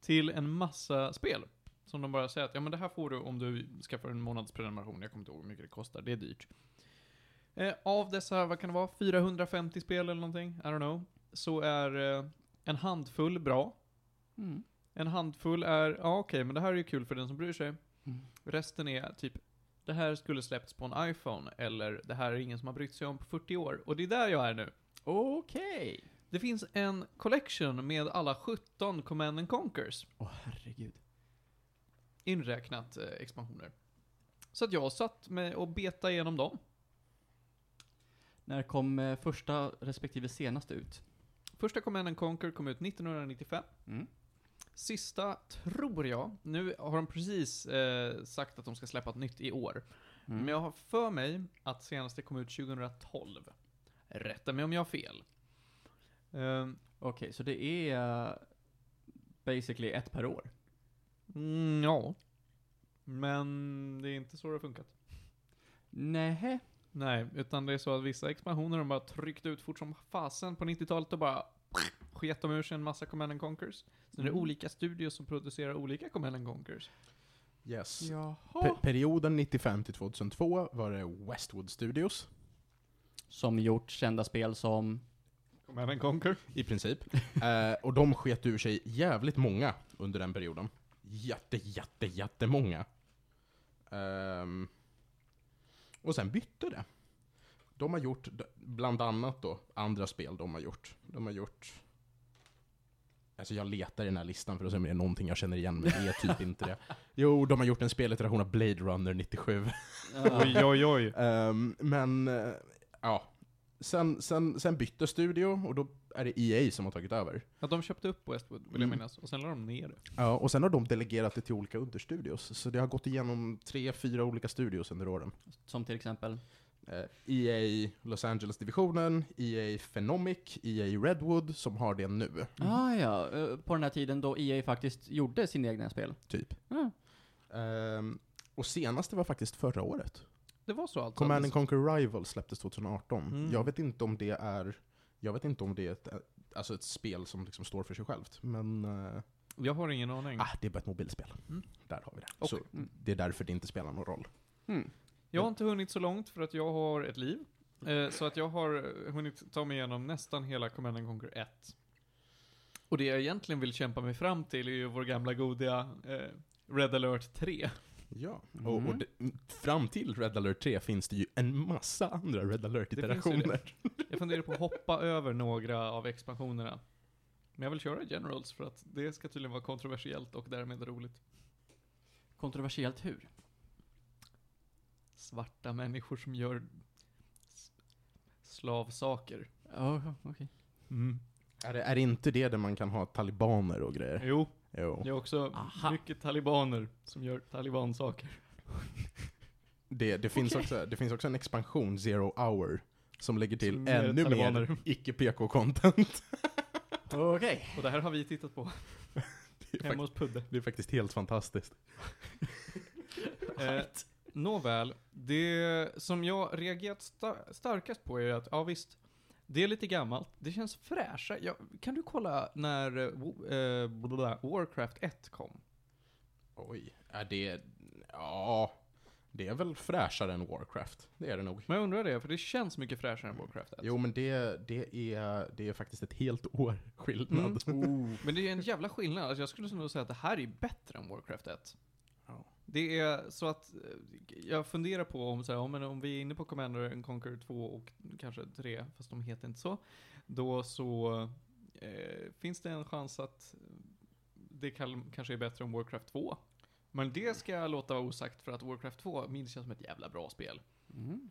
A: till en massa spel. Som de bara säger att ja, men det här får du om du skaffar en månads prenumeration. Jag kommer inte ihåg hur mycket det kostar, det är dyrt. Eh, av dessa, vad kan det vara, 450 spel eller någonting, I don't know, så är eh, en handfull bra.
D: Mm.
A: En handfull är, ja okej, men det här är ju kul för den som bryr sig.
D: Mm.
A: Resten är typ, det här skulle släppts på en iPhone, eller det här är ingen som har brytt sig om på 40 år. Och det är där jag är nu.
D: Okej.
A: Det finns en collection med alla 17 Command and Conquers,
D: Åh herregud.
A: inräknat eh, expansioner. Så att jag satt med och beta igenom dem.
D: När kom eh, första respektive senaste ut?
A: Första Command and Conquer kom ut 1995.
D: Mm.
A: Sista, tror jag, nu har de precis eh, sagt att de ska släppa ett nytt i år.
D: Mm.
A: Men jag har för mig att senaste kom ut 2012. Rätta mig om jag har fel. Ehm,
D: Okej, så det är eh, basically ett per år.
A: mm, ja. Men det är inte så det har funkat.
D: Nej.
A: Nej, utan det är så att vissa expansioner de bara tryckt ut fort som fasen på 90-talet och bara sket de ur sig en massa Command and Conquers. Sen är det
D: Mm.
A: olika studios som producerar olika Command and Conquers.
B: Yes. Pe-
D: Jaha.
B: perioden 95 till 2002 var det Westwood Studios,
D: Som gjort kända spel som...
A: Command and Conquer?
B: i princip. eh, och de sket ur sig jävligt många under den perioden. Jätte, jätte, jättemånga. Ehm, och sen bytte det. De har gjort, d- bland annat då, andra spel de har gjort. De har gjort... Alltså jag letar i den här listan för att se om det är någonting jag känner igen, men det är typ inte det. Jo, de har gjort en speliteration av Blade Runner 97.
D: eh,
A: Oj, oj, oj.
B: Ehm, men, eh, ja. Sen, sen, sen bytte studio och då är det EA som har tagit över.
A: Ja, de köpte upp Westwood, vill jag
B: Mm.
A: minnas. Och sen la de ner det.
B: Ja, och sen har de delegerat det till olika understudios. Så det har gått igenom tre, fyra olika studios under åren.
D: Som till exempel?
B: Eh, EA Los Angeles-divisionen, EA Phenomic, EA Redwood som har det nu.
D: Ah, ja, eh, på den här tiden då EA faktiskt gjorde sina egna spel.
B: Typ.
D: Ja.
B: Ehm, och senaste var faktiskt förra året.
A: Det var så alltså?
B: Command and Conquer Rival släpptes 2018.
A: Mm.
B: Jag vet inte om det är, jag vet inte om det är ett, alltså ett spel som liksom står för sig självt. Men eh,
A: Jag har ingen aning.
B: ah, det är bara ett mobilspel.
A: Mm.
B: Där har vi det.
A: Och-
B: Så
D: mm.
B: det är därför det inte spelar någon roll.
D: Mm.
A: Jag har inte hunnit så långt för att jag har ett liv. Eh, så att jag har eh, hunnit ta mig igenom nästan hela Command and Conquer 1. Och det jag egentligen vill kämpa mig fram till är ju vår gamla godia eh, Red Alert 3.
B: Ja,
D: Mhm.
B: och, och det, fram till Red Alert 3 finns det ju en massa andra Red
A: Det
B: Alert-iterationer.
A: Jag funderar på att hoppa [laughs] över några av expansionerna. Men jag vill köra Generals för att det ska tydligen vara kontroversiellt och därmed roligt.
D: Kontroversiellt hur?
A: Svarta människor som gör s- slavsaker.
D: Ja, okej.
B: Är, det, är det inte det där man kan ha talibaner och grejer?
A: Jo,
B: Jo.
A: det är också
D: Aha.
A: mycket talibaner som gör talibansaker.
B: Det, det, finns också, det finns också en expansion, Zero Hour, som lägger till
A: Som är
B: ännu
A: talibaner.
B: mer icke-PK-content.
D: Okej.
A: Och det här har vi tittat på
B: [laughs] Det, är
A: hemma
B: fakt-
A: hos Pudde.
B: det är faktiskt helt fantastiskt.
A: Eh, nåväl, det som jag reagerat sta- starkast på är att, ja visst, det är lite gammalt, det känns fräscha. Ja, kan du kolla när eh, wo- eh, blablabla, Warcraft 1 kom?
B: Oj, är det... Ja, det är väl fräschare än Warcraft. Det är det nog.
A: Men jag undrar det, för det känns mycket fräschare än Warcraft 1.
B: Jo, men det, det, är, det är faktiskt ett helt år skillnad.
A: Mm. Men det är en jävla skillnad, alltså jag skulle nog säga att det här är bättre än Warcraft 1.
B: Ja.
A: Det är så att eh, jag funderar på om, så här, ja, men om vi är inne på Commander and Conquer 2 och kanske 3, fast de heter inte så, då så eh, finns det en chans att det kan, kanske är bättre än Warcraft 2. Men det ska jag låta vara osagt för att Warcraft 2 minns jag som ett jävla bra spel.
D: Mm.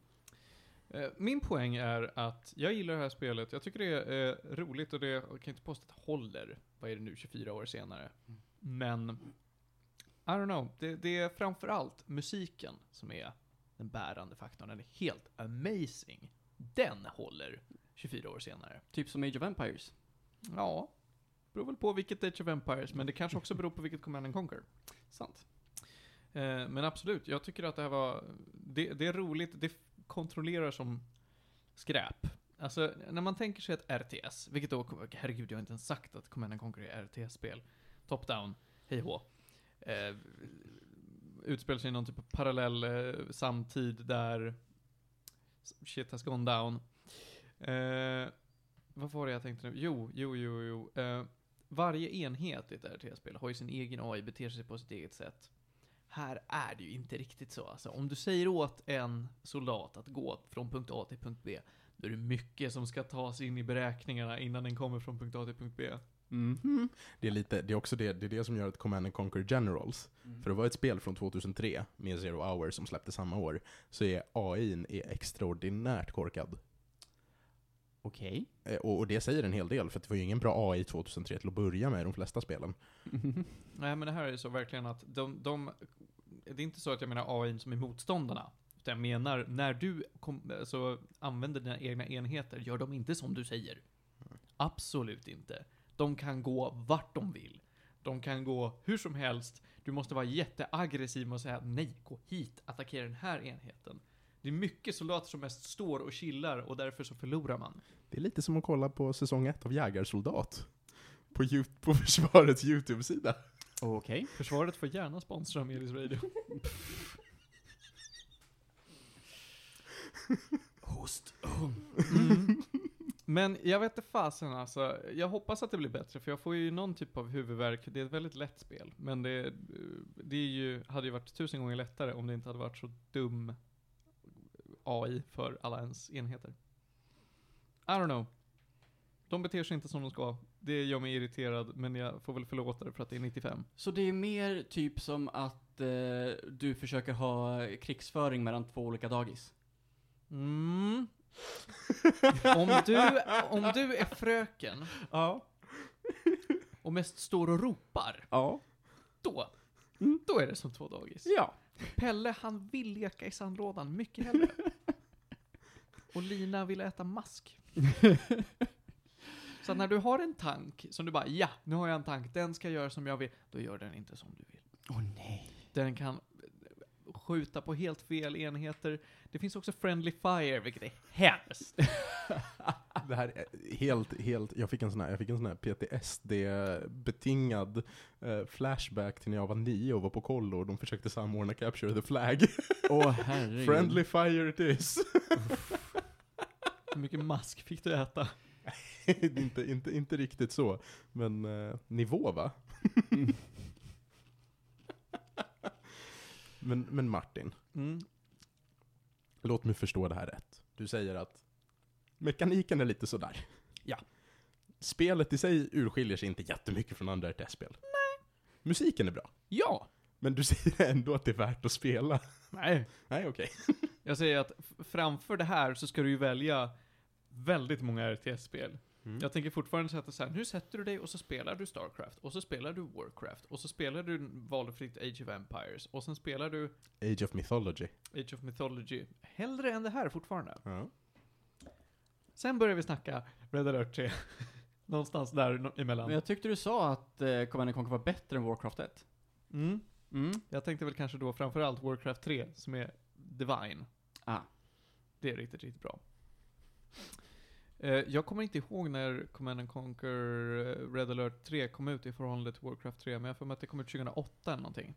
A: Eh, Min poäng är att jag gillar det här spelet. Jag tycker det är eh, roligt och det, jag kan inte påstå att det håller, vad är det nu, 24 år senare. Men, I don't know. Det, det är framförallt musiken som är den bärande faktorn. Den är helt amazing. Den håller 24 år senare.
D: Typ som Age of Empires.
A: Ja, beror väl på vilket Age of Empires, men det kanske också beror på vilket Command and Conquer. Sant. Eh, men absolut, jag tycker att det här var, det, det är roligt, det kontrollerar som skräp. Alltså, när man tänker sig ett RTS, vilket då, herregud, jag har inte ens sagt att Command and Conquer är RTS-spel. Top-down, hej hå. Eh, utspelar sig i någon typ av parallell eh, samtid där shit has gone down. Eh, vad var det jag tänkte nu? Jo, jo, jo, jo. Eh, varje enhet i ett RTS-spel har ju sin egen AI, beter sig på sitt eget sätt. Här är det ju inte riktigt så. Alltså, om du säger åt en soldat att gå från punkt A till punkt B, då är det mycket som ska tas in i beräkningarna innan den kommer från punkt A till punkt B.
D: Mm.
B: Mhm. Det är lite, det är också det, det är det som gör att Command and Conquer Generals,
D: Mm.
B: för det var ett spel från 2003 med Zero Hour som släpptes samma år, så är AIn är extraordinärt korkad.
D: [laughs] Okej.
B: Eh, Och, och det säger en hel del, för att det var ju ingen bra AI 2003 till att börja med i de flesta spelen.
A: Nej, men det här är ju så verkligen att de, de... Det är inte så att jag menar AI som är motståndarna. Utan jag menar, när du kom, så använder dina egna enheter, gör de inte som du säger. Absolut inte. De kan gå vart de vill. De kan gå hur som helst. Du måste vara jätteaggressiv med att säga nej, gå hit, attackera den här enheten. Det är mycket soldater som mest står och chillar och därför så förlorar man.
B: Det är lite som att kolla på säsong 1 av Jägarsoldat. På, Yout- på försvarets YouTube-sida.
D: Okej.
A: Försvaret får gärna sponsra Melis Radio. Host. Mm. Men jag vet inte fasen alltså. Jag hoppas att det blir bättre för jag får ju någon typ av huvudvärk. Det är ett väldigt lätt spel. Men det, det är ju, hade ju varit tusen gånger lättare om det inte hade varit så dum AI för alla ens enheter. I don't know. de beter sig inte som de ska. Det gör mig irriterad, men jag får väl förlåta det för att det är 95.
D: Så det är mer typ som att eh, du försöker ha krigsföring mellan två olika dagis?
A: Mm. om, du, om du är fröken
D: Ja.
A: och mest står och ropar,
D: Ja.
A: då, då är det som två dagis.
D: Ja.
A: Pelle, han vill leka i sandlådan mycket hellre. Och Lina vill äta mask. Så att när du har en tank som du bara ja, nu har jag en tank, den ska göra som jag vill, då gör den inte som du vill.
D: Åh nej.
A: Den kan eh, skjuta på helt fel enheter. Det finns också friendly fire, vilket är hemskt.
B: Det här är helt, helt, jag fick en sån här, jag fick en sån här PTSD-betingad eh, flashback till när jag var nio och var på kollo och de försökte samordna Capture the Flag.
D: Åh herregud.
B: [laughs] Friendly fire it is. [laughs]
A: Hur mycket mask fick du äta?
B: inte, inte, inte riktigt så, men eh, nivå va? [laughs] men, men Martin,
A: Mm.
B: låt mig förstå det här rätt. Du säger att mekaniken är lite sådär.
A: Ja.
B: Spelet i sig urskiljer sig inte jättemycket från andra RTS-spel. Nej. Musiken är bra,
A: Ja!
B: men du [laughs] säger ändå att det är värt att spela.
A: Nej.
B: Nej, okej.
A: Jag säger att f- framför det här så ska du ju välja väldigt många RTS-spel.
D: Mm.
A: Jag tänker fortfarande sätta så här, nu sätter du dig och så spelar du Starcraft, och så spelar du Warcraft, och så spelar du valfritt Age of Empires, och sen spelar du
B: Age of Mythology.
A: Age of Mythology. Hellre än det här fortfarande.
B: Ja.
A: Sen börjar vi snacka Red Alert 3. [laughs] Någonstans där no- emellan.
D: Men jag tyckte du sa att eh, Command Conquer var bättre än Warcraft 1.
A: Mm.
D: Mm.
A: Jag tänkte väl kanske då framförallt Warcraft 3, som är Divine.
D: Ah.
A: Det är riktigt, riktigt bra. Eh, jag kommer inte ihåg när Command and Conquer eh, Red Alert 3 kom ut i förhållande till Warcraft 3, men jag får mig att det kom ut 2008 eller någonting.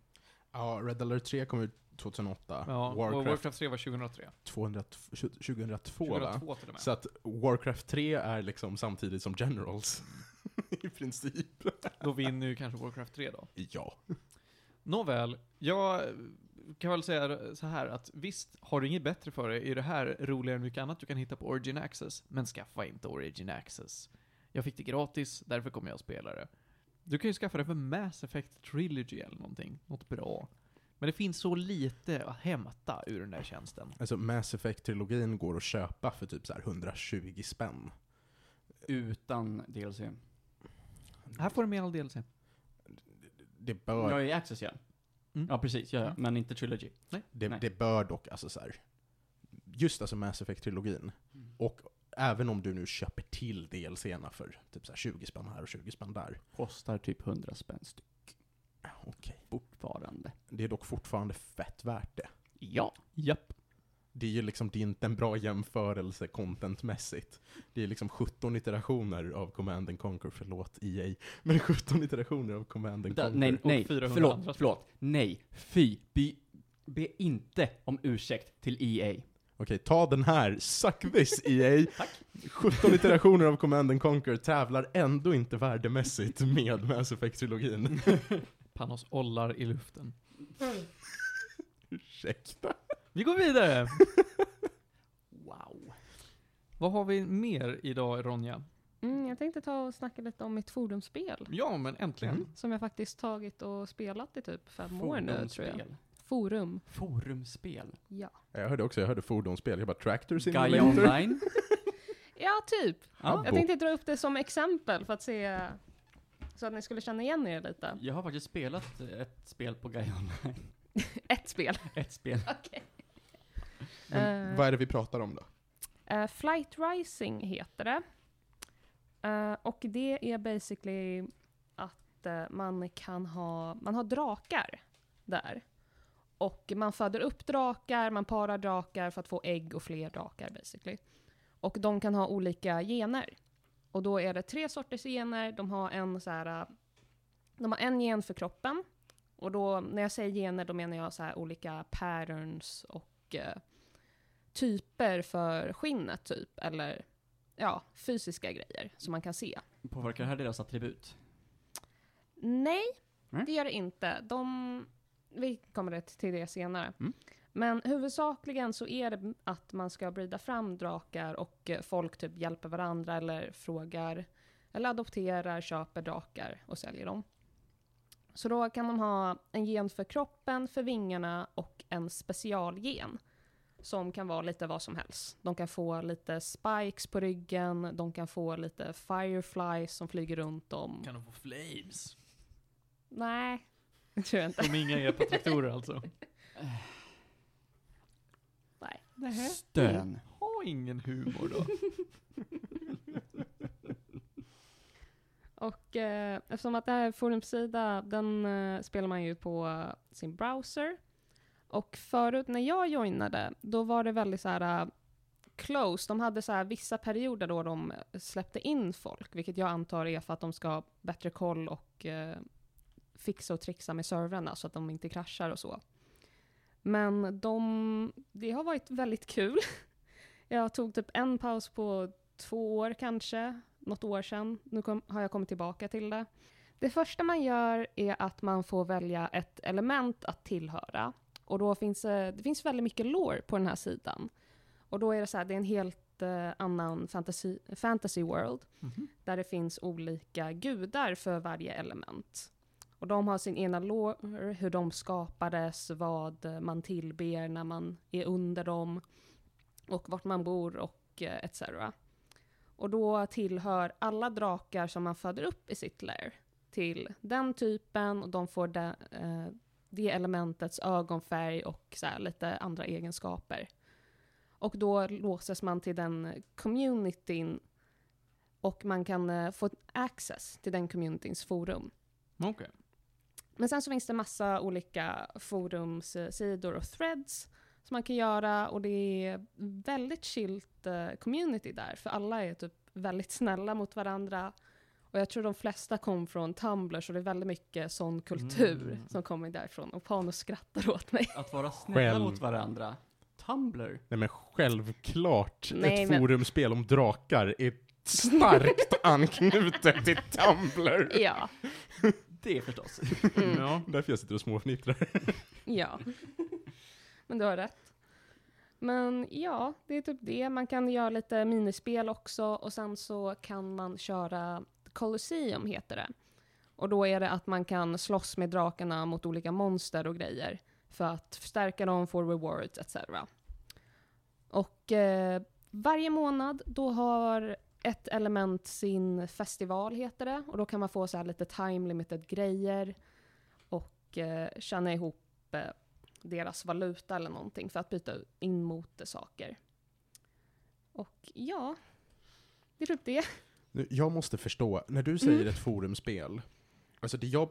B: ja, Red Alert 3 kom ut 2008.
A: Ja, och
B: Ah, Warcraft,
A: Warcraft 3 var 2003.
B: 200, 2002, va?
A: 2002 till och med.
B: Så att Warcraft 3 är liksom samtidigt som Generals. [laughs] I princip.
A: Då vinner ju kanske Warcraft 3 då.
B: Ja.
A: Nåväl, jag kan väl säga så här att visst har du inget bättre för dig i det här roligare än mycket annat du kan hitta på Origin Access, men skaffa inte Origin Access. Jag fick det gratis, därför kommer jag att spela det. Du kan ju skaffa det för Mass Effect Trilogy eller någonting, något bra. Men det finns så lite att hämta ur den där tjänsten.
B: Alltså Mass Effect-trilogin går att köpa för typ så här 120 spänn.
D: Utan DLC.
A: Här får du med all DLC.
B: Det bör,
D: Jag är i Access ja.
A: Mm.
D: Ja precis, ja, ja. men inte Trilogy.
B: det,
D: nej.
B: det bör dock, alltså så här, just alltså Mass Effect-trilogin.
D: Mm.
B: Och även om du nu köper till DLC'na för typ så här 20 spänn här och 20 spänn där.
D: Kostar typ 100 spänn styck
B: Okej.
D: fortfarande.
B: Det är dock fortfarande fett värt det.
D: Ja.
A: Japp.
B: Det är ju liksom, det är inte en bra jämförelse contentmässigt. Det är liksom 17 iterationer av Command and Conquer, förlåt EA, men 17 iterationer av Command and
D: Da,
B: Conquer.
D: nej, nej,
A: 400 andra
D: förlåt, förlåt. Nej, fy. Be, be inte om ursäkt till E EA.
B: Okej, ta den här, suck this EA!
D: [laughs]
B: 17 iterationer av Command and Conquer tävlar ändå inte värdemässigt med Mass
D: Mm.
B: Effect-trilogin.
A: Panos ollar i luften.
B: Ursäkta.
A: Vi går vidare!
D: [laughs] Wow.
A: Vad har vi mer idag, Ronja?
E: Mm, jag tänkte ta och snacka lite om mitt fordonsspel.
A: Ja, men äntligen.
B: Mm.
E: Som jag faktiskt tagit och spelat i typ fem år nu tror jag. Forum.
D: Forumspel.
E: Ja.
B: Jag hörde också, jag hörde fordonsspel, jag bara Tractor
D: Gaia
B: Simulator.
D: Online.
E: Ja, typ.
D: [laughs] ja.
E: Jag tänkte dra upp det som exempel för att se så att ni skulle känna igen er lite.
D: Jag har faktiskt spelat ett spel på Gaia Online. [laughs]
E: Ett spel.
D: Ett spel.
E: Mm.
B: Men Vad är det vi pratar om då?
E: Eh, Flight Rising heter det. Eh, och det är basically att eh, man kan ha, man har drakar där. Och man föder upp drakar, man parar drakar för att få ägg och fler drakar basically. Och de kan ha olika gener. Och då är det tre sorters gener, de har en så här, eh, de har en gen för kroppen. Och då, när jag säger gener, då menar jag så här olika patterns och eh, typer för skinnet typ, eller ja, fysiska grejer som man kan se.
D: Påverkar det här deras attribut?
E: Nej,
D: Nej.
E: det gör det inte. De, vi kommer det till det senare.
D: Mm.
E: Men huvudsakligen så är det att man ska brida fram drakar och eh, folk typ hjälper varandra eller frågar eller adopterar, köper drakar och säljer dem. Så då kan de ha en gen för kroppen, för vingarna och en specialgen som kan vara lite vad som helst. De kan få lite spikes på ryggen, de kan få lite fireflies som flyger runt dem.
A: Kan de få flames?
E: Nej, det tror jag inte.
A: Om inga epatraktorer alltså.
E: Nej.
D: Stön.
A: Ha ingen humor då.
E: Och eh, eftersom att det här är en forumsida, den eh, spelar man ju på eh, sin browser. Och förut när jag joinade, då var det väldigt så här eh, close. De hade så här vissa perioder då de släppte in folk, vilket jag antar är för att de ska ha bättre koll och eh, fixa och trixa med servrarna så att de inte kraschar och så. Men de, det har varit väldigt kul. [laughs] Jag tog typ en paus på två år kanske, något år sedan. Nu kom, har jag kommit tillbaka till det. Det första man gör är att man får välja ett element att tillhöra. Och då finns eh, det, det finns väldigt mycket lore på den här sidan. Och då är det så här, det är en helt eh, annan fantasy, fantasy world. Där det finns olika gudar för varje element. Och de har sin egna lore, hur de skapades, vad man tillber när man är under dem. Och vart man bor och eh, etc. Och då tillhör alla drakar som man föder upp i sitt lair till den typen och de får det, eh, det elementets ögonfärg och så här lite andra egenskaper. Och då låses man till den communityn och man kan eh, få access till den communityns forum.
A: Okej.
E: Men sen så finns det massa olika forumssidor och threads som man kan göra och det är väldigt chillt eh, community där för alla är typ väldigt [laughs] snälla mot varandra. Och jag tror de flesta kom från Tumblr så det är väldigt mycket sån kultur
A: Mm.
E: som kommer därifrån. Och Panos skrattar
A: [laughs]
E: åt mig.
D: Att vara snälla
B: Själv.
D: mot varandra. Tumblr.
B: Nej men självklart,
E: Nej,
B: ett
E: men-
B: forumspel om drakar är
E: [laughs]
B: starkt anknutet till Tumblr.
E: ja.
D: Det förstås.
E: Mm.
A: Ja.
B: Därför jag sitter och småfnittrar.
E: Ja. Men du har rätt. Men ja, det är typ det. Man kan göra lite minispel också och sen så kan man köra Colosseum heter det. Och då är det att man kan slåss med drakarna mot olika monster och grejer för att förstärka dem, få rewards etc. Och eh, varje månad då har ett element sin festival heter det och då kan man få så här lite time limited grejer och eh, tjäna ihop eh, deras valuta eller någonting för att byta in mot eh, saker. Och ja, det är typ det.
B: Nu, Jag måste förstå, när du säger
E: Mm.
B: ett forumspel, alltså det jag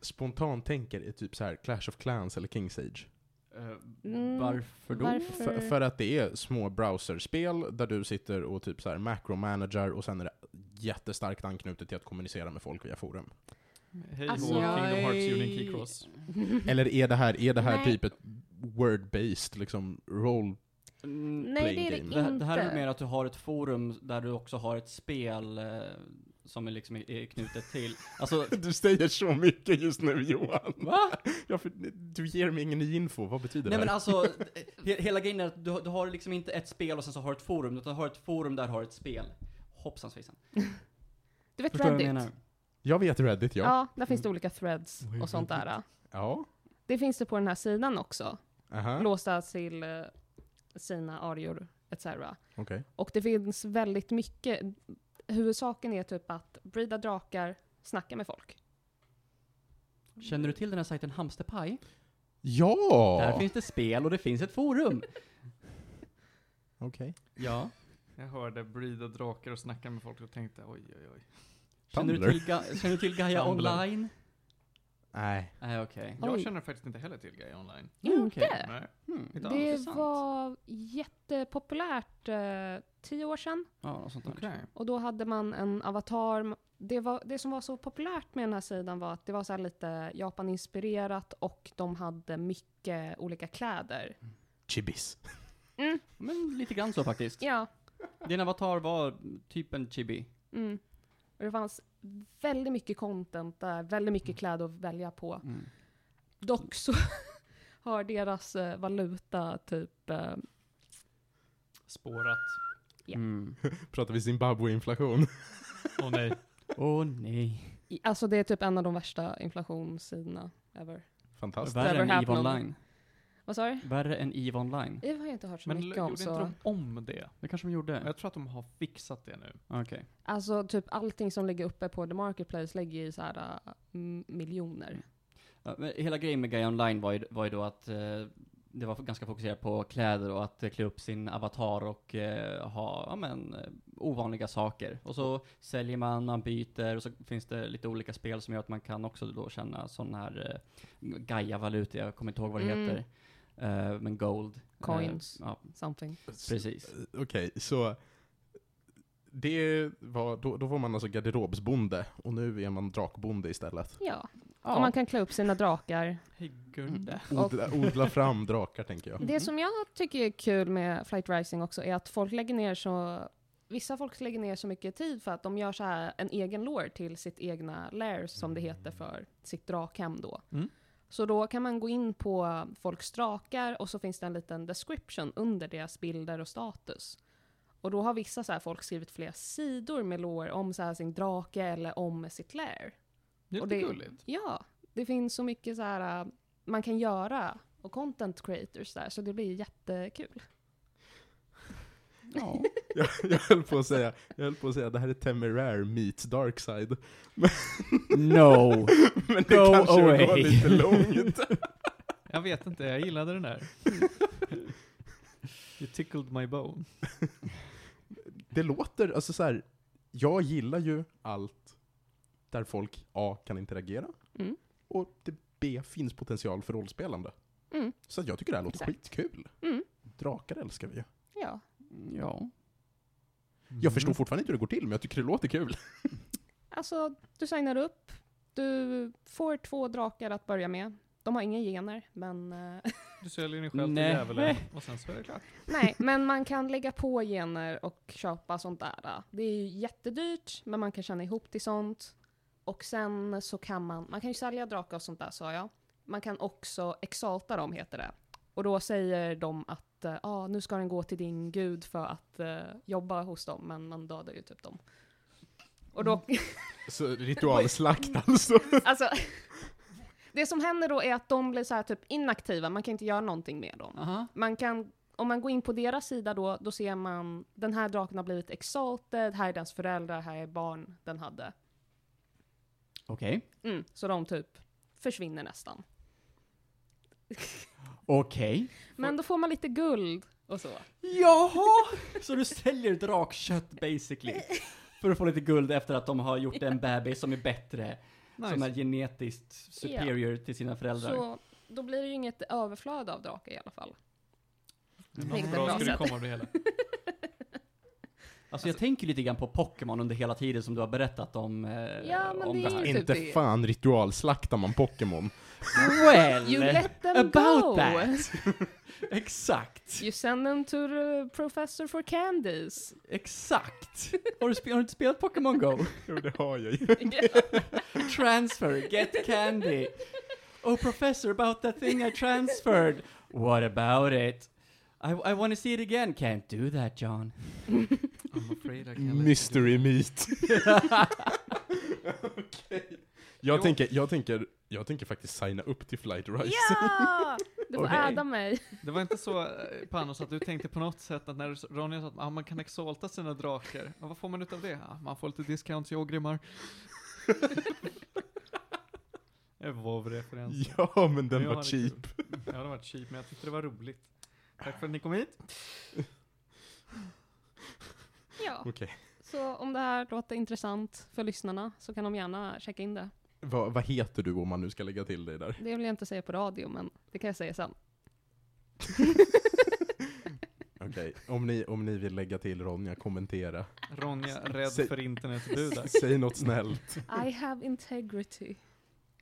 B: spontant tänker är typ så här Clash of Clans eller King's Age.
D: Eh,
E: Mm,
D: varför då?
E: varför?
B: För,
D: Mm.
B: för att det är små browserspel där du sitter och typ så här macro-manager och sen är det jättestarkt anknutet till att kommunicera med folk via forum.
A: [laughs] Hej
E: Alltså,
A: alltså, Kingdom
E: jag
A: Hearts
D: är-
A: Union Key
D: [laughs]
A: Cross.
D: Mm.
B: Eller är det här, är det här
E: Nej.
B: typ ett word-based liksom roll?
D: Mm,
E: Nej, det är det
B: Playing
D: Det,
E: inte.
D: det här är mer att du har ett forum där du också har ett spel eh, som är liksom är- är knutet till. Alltså,
B: [laughs] Du säger så mycket just nu Johan. [laughs]
D: va?
B: Ja, för, du ger mig ingen ny info, vad betyder
D: Nej
B: det
D: men
B: här?
D: alltså, he, hela grejen är att du, du har liksom inte ett spel och sen så har du ett forum, utan du har ett forum där du har ett spel. Hoppsan svejsan.
E: Du vet
D: Förstår du vad
E: Reddit?
D: jag menar?
B: Jag vet Reddit
E: Ja,
B: ja.
E: där finns det olika threads
B: Vad är
E: och sånt där.
B: Ja.
E: Det finns det på den här sidan också.
B: Aha, okej.
E: Låsta till eh, sina arior etc. Och det finns väldigt mycket. Huvudsaken är typ att brida drakar, snacka med folk.
D: Känner du till den här sajten Hamsterpaj?
B: Ja!
D: Där finns det spel och det finns ett forum.
B: Okej.
D: Ja.
A: Jag hörde brida drakar och snacka med folk och tänkte oj oj oj.
D: Känner du
B: Tumblr.
D: till, Ga- känner du till Gaia
A: Tumblr.
D: online?
B: Nej.
D: Nej okej.
A: Jag
E: Oj.
A: känner faktiskt inte heller till Gaia Online.
D: Mm,
E: Inte?
D: okej.
A: Nej.
D: Hmm.
A: Inte alls.
E: Det
D: intressant.
E: var jättepopulärt eh, tio år sedan.
D: Ja, något sånt där.
A: Okej.
E: Och då hade man en avatar. Det, var, det som var så populärt med den här sidan var att det var så här lite Japan-inspirerat och de hade mycket olika kläder.
B: Chibis.
E: Mm,
D: Men lite grann så faktiskt.
E: ja.
D: Din avatar var typ en chibi.
E: Mm. Och det fanns väldigt
A: Mm.
D: Mm.
E: mycket content där, väldigt mycket kläder att välja på. Dock så [laughs] har deras eh, valuta typ, eh,
A: Spårat.
E: Ja.
D: Mm.
B: [laughs] Pratar vi Zimbabwe-inflation?
A: Åh nej.
D: Åh nej.
E: i- alltså det är typ en av de värsta inflationssidorna ever.
B: Fantastiskt.
D: Värre än
E: Never
D: EVE
E: happened.
D: Online.
E: Vad sa du?
D: Värre än EVE Online.
E: Det har jag inte hört så
A: Men
E: mycket
A: gjorde
E: om.
A: inte
E: Så.
A: de om det?
D: Det kanske de gjorde.
A: Jag tror att de har fixat det nu.
D: Okej.
E: Alltså typ allting som ligger uppe på The Marketplace lägger i så här äh, m- miljoner.
D: Ja, men hela grejen med Gaia Online var ju, var ju då att eh, det var ganska fokuserat på kläder och att eh, klä upp sin avatar och eh, ha ja, men, eh, ovanliga saker. Och så säljer man, man byter och så finns det lite olika spel som gör att man kan också då tjäna sån här eh, Gaia-valuta, jag kommer inte ihåg vad det
E: Mm.
D: heter. Eh, men gold.
E: Coins.
D: Eh, ja,
E: Something.
D: precis.
B: Okej, så det var, då, då var man alltså garderobsbonde och nu är man drakbonde istället.
E: Ja.
D: Ja.
E: Och man kan klä upp sina drakar.
A: Hej Gunde.
B: Odla, odla fram drakar tänker
A: Mm. Mm-hmm.
B: jag. [laughs]
E: Det som jag tycker är kul med Flight Rising också är att folk lägger ner så... Vissa folk lägger ner så mycket tid för att de gör så här en egen lore till sitt egna lair, som det heter för sitt drakhem då.
A: Mm.
E: Så då kan man gå in på folks drakar och så finns det en liten description under deras bilder och status. Och då har vissa så här folk skrivit flera sidor med lore om så här sin drake eller om sitt lair.
A: Mm. Det är
E: Och
A: lite
E: det-
A: gulligt.
E: Ja, det finns så mycket så här äh, man kan göra och content creators där, så det blir jättekul.
D: Ja.
B: Jag, jag, höll på att säga, jag höll på att säga det här är Temeraire meets Darkside.
D: No!
B: [laughs] Men det
D: Go
B: kanske var
D: away.
B: lite långt. [laughs]
A: Jag vet inte, jag gillade den [laughs] där. You tickled my bone.
B: Det låter, alltså så här, jag gillar ju allt där folk A kan interagera
E: Mm.
B: och det B finns potential för rollspelande.
E: Mm.
B: Så att jag tycker det här låter
E: Exakt.
B: skitkul.
E: Mm.
B: Drakar älskar vi ju.
E: Ja.
D: ja.
B: Jag förstår fortfarande inte hur det går till, men jag tycker det låter kul.
E: Alltså, du signar upp, du får två drakar att börja med. De har inga gener, men... eh,
A: Du säljer dig själv till
D: Nej.
A: djävulen och sen så är det klart.
E: nej, men man kan lägga på gener och köpa sånt där. Det är ju jättedyrt, men man kan tjäna ihop till sånt. Och sen så kan man, man kan ju sälja drakar och sånt där sa jag. Man kan också exalta dem heter det. Och då säger de att eh, ah, nu ska den gå till din gud för att eh, jobba hos dem, men man dödar ju typ dem. Och då,
B: Så ritualslakt alltså.
E: [laughs] Alltså, det som händer då är att de blir så här typ inaktiva, man kan inte göra någonting med dem.
D: Aha.
E: Man kan, om man går in på deras sida då, då ser man den här draken har blivit exalted, här är dens föräldrar, här är barn den hade.
D: Okej.
E: Mm, så de typ försvinner nästan.
D: Okej.
E: Men då får man lite guld och så.
D: Jaha! Så du säljer drakkött basically? För att få lite guld efter att de har gjort en bebis som är bättre, som är genetiskt superior till sina föräldrar.
E: Så då blir det ju inget överflöd av drakar i alla fall.
A: Något
E: Riktigt
A: bra
E: bra
A: skulle
E: sätt.
A: komma av det hela.
D: Alltså jag tänker lite grann på Pokémon under hela tiden som du har berättat om, eh,
E: Ja, men
D: om
E: det
D: det,
E: är
D: här.
E: ju-
B: inte
E: det.
B: fan ritualslaktar man Pokémon.
E: You
D: Well!
E: let them
D: About
E: go!
D: that! [laughs] Exakt!
E: [laughs] You send them to the professor for candies.
D: Exakt! Har du, spe- har du inte spelat Pokémon Go?
B: Jo, det har jag
E: [laughs]
B: ju.
D: Transfer, get candy! Oh professor, about that thing I transferred! What about it? I, I wanna see it again! Can't do that John.
A: [laughs] I'm afraid I can't let you do
B: Mystery [laughs] meat.
A: Jo.
B: jag, tänker, jag, tänker, jag tänker faktiskt signa upp till Flight Rise.
E: Ja! Du får
D: Okej.
E: äda mig.
A: it. Det var inte så, eh, Panos, att du tänkte på något sätt att när Ronja sa att ah, man kan exalta sina drakar, ah, vad får man ut av det? Ah, man får lite discounts i [laughs] Ogrimmar. Det var referens.
B: Ja, men den
A: Men jag
B: var
A: hade kul.
B: cheap.
A: Ja, den var cheap, men jag tyckte det var roligt. Tack för att ni kom hit.
E: Ja.
B: Okej.
E: Så om det här låter intressant för lyssnarna så kan de gärna checka in det.
B: Vad- vad heter du om man nu ska lägga till dig där?
E: Det vill jag inte säga på radio, men det kan jag säga sen.
B: Okej, om, ni, om ni vill lägga till Ronja, kommentera. [laughs]
A: Ronja, rädd
B: Säg-
A: för internet, du där.
B: [laughs] Säg något snällt.
E: I have integrity.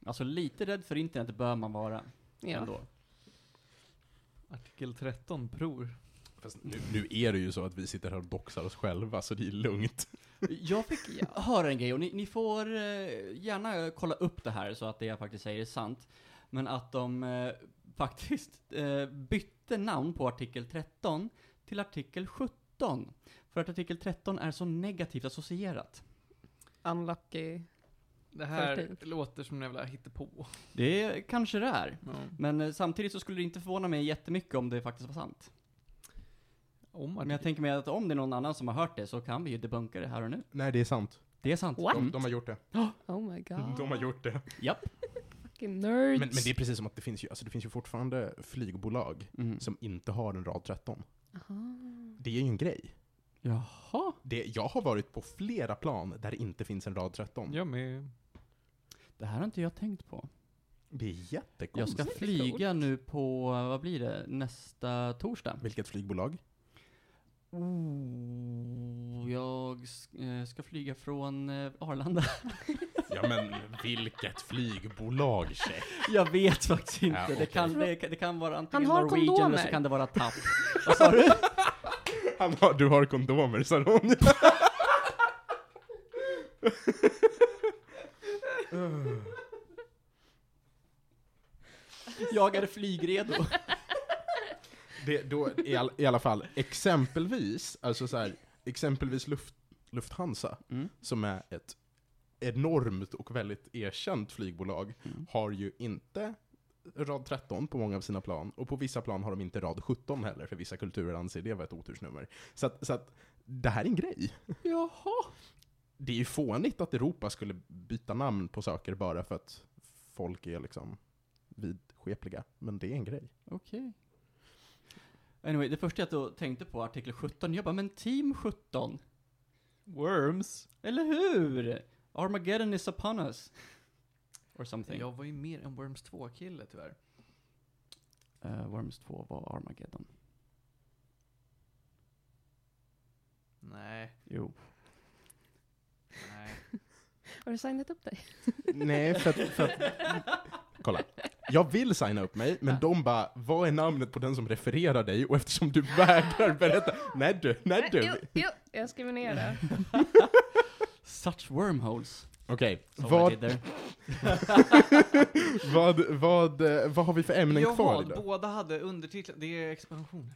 D: Alltså lite rädd för internet bör man vara
E: Ja.
D: ändå.
A: Artikel 13, pror.
B: Fast nu, nu är det ju så att vi sitter här och doxar oss själva, så det är lugnt.
D: Jag fick höra en grej och ni, ni får eh, gärna kolla upp det här så att det jag faktiskt säger är sant. Men att de eh, faktiskt eh, bytte namn på artikel 13 till artikel 17. För att artikel 13 är så negativt associerat.
E: Unlucky.
A: Det här
E: Förtid.
A: låter som en jävla hittepå.
D: Det är- kanske det är.
A: Ja.
D: Men eh, samtidigt så skulle det inte förvåna mig jättemycket om det faktiskt var sant.
A: Oh my
D: Men jag tänker mig att om det är någon annan som har hört det så kan vi ju debunka det här och nu.
B: Nej, det är sant.
D: Det är sant.
E: What?
B: De, de har gjort det.
E: Oh my god.
B: Mm, De har gjort det. Men,
E: Fucking nerds.
B: men det är precis som att det finns ju, alltså det finns ju fortfarande flygbolag
D: Mm.
B: som inte har en rad 13.
E: Aha.
B: Det är ju en grej.
D: Jaha.
B: Det, jag har varit på flera plan där det inte finns en rad 13.
A: Jag med.
D: Det här har inte jag tänkt på.
B: Det är
D: Jag
B: jättekonstigt.
D: ska flyga nu på, vad blir det, nästa torsdag?
B: Vilket flygbolag?
D: Oh, jag s- eh, ska flyga från eh, Arlanda. [laughs]
B: Ja men vilket flygbolag tjej?
D: Jag vet faktiskt inte.
B: Ja,
D: det,
B: okej.
D: kan, det, kan- det kan vara antingen
E: har
D: Norwegian eller så
E: kondomer.
D: kan det vara TAP. Vad sa du?
B: Han har, du har kondomer sa hon.
D: Jag är flygredo.
B: Det, då, i, all, I alla fall, exempelvis, alltså så här, exempelvis Luft, Lufthansa,
D: Mm.
B: som är ett enormt och väldigt erkänt flygbolag,
D: Mm.
B: har ju inte rad 13 på många av sina plan, och på vissa plan har de inte rad 17 heller, för vissa kulturer anser det vara ett otursnummer. Så att, så att det här är en grej.
D: Jaha.
B: Det är ju fånigt att Europa skulle byta namn på saker bara för att folk är liksom vidskepliga, men det är en grej.
D: Okej. Anyway, det första jag då tänkte på, artikel 17, jag bara, men team 17?
A: Worms.
D: Eller hur? Armageddon is upon us. Or something.
A: Jag var ju mer en Worms 2-kille tyvärr.
D: Eh, Worms 2 var Armageddon.
A: Nej,
D: Jo.
A: nej.
E: Har du signat upp dig?
B: Nej, för att, för att... Kolla. Jag vill signa upp mig, men de bara Vad är namnet på den som refererar dig? Och eftersom du vägrar berätta Nej du, nej du!
E: Jo, jo, jag skriver ner det.
D: [laughs] Such wormholes.
B: Okej,
D: som
B: vad,
D: I did there.
B: [laughs] vad, vad, eh, vad har vi för [laughs] ämnen
A: Jag
B: kvar
A: vad,
B: idag?
A: båda hade undertitlar. Det är expansioner.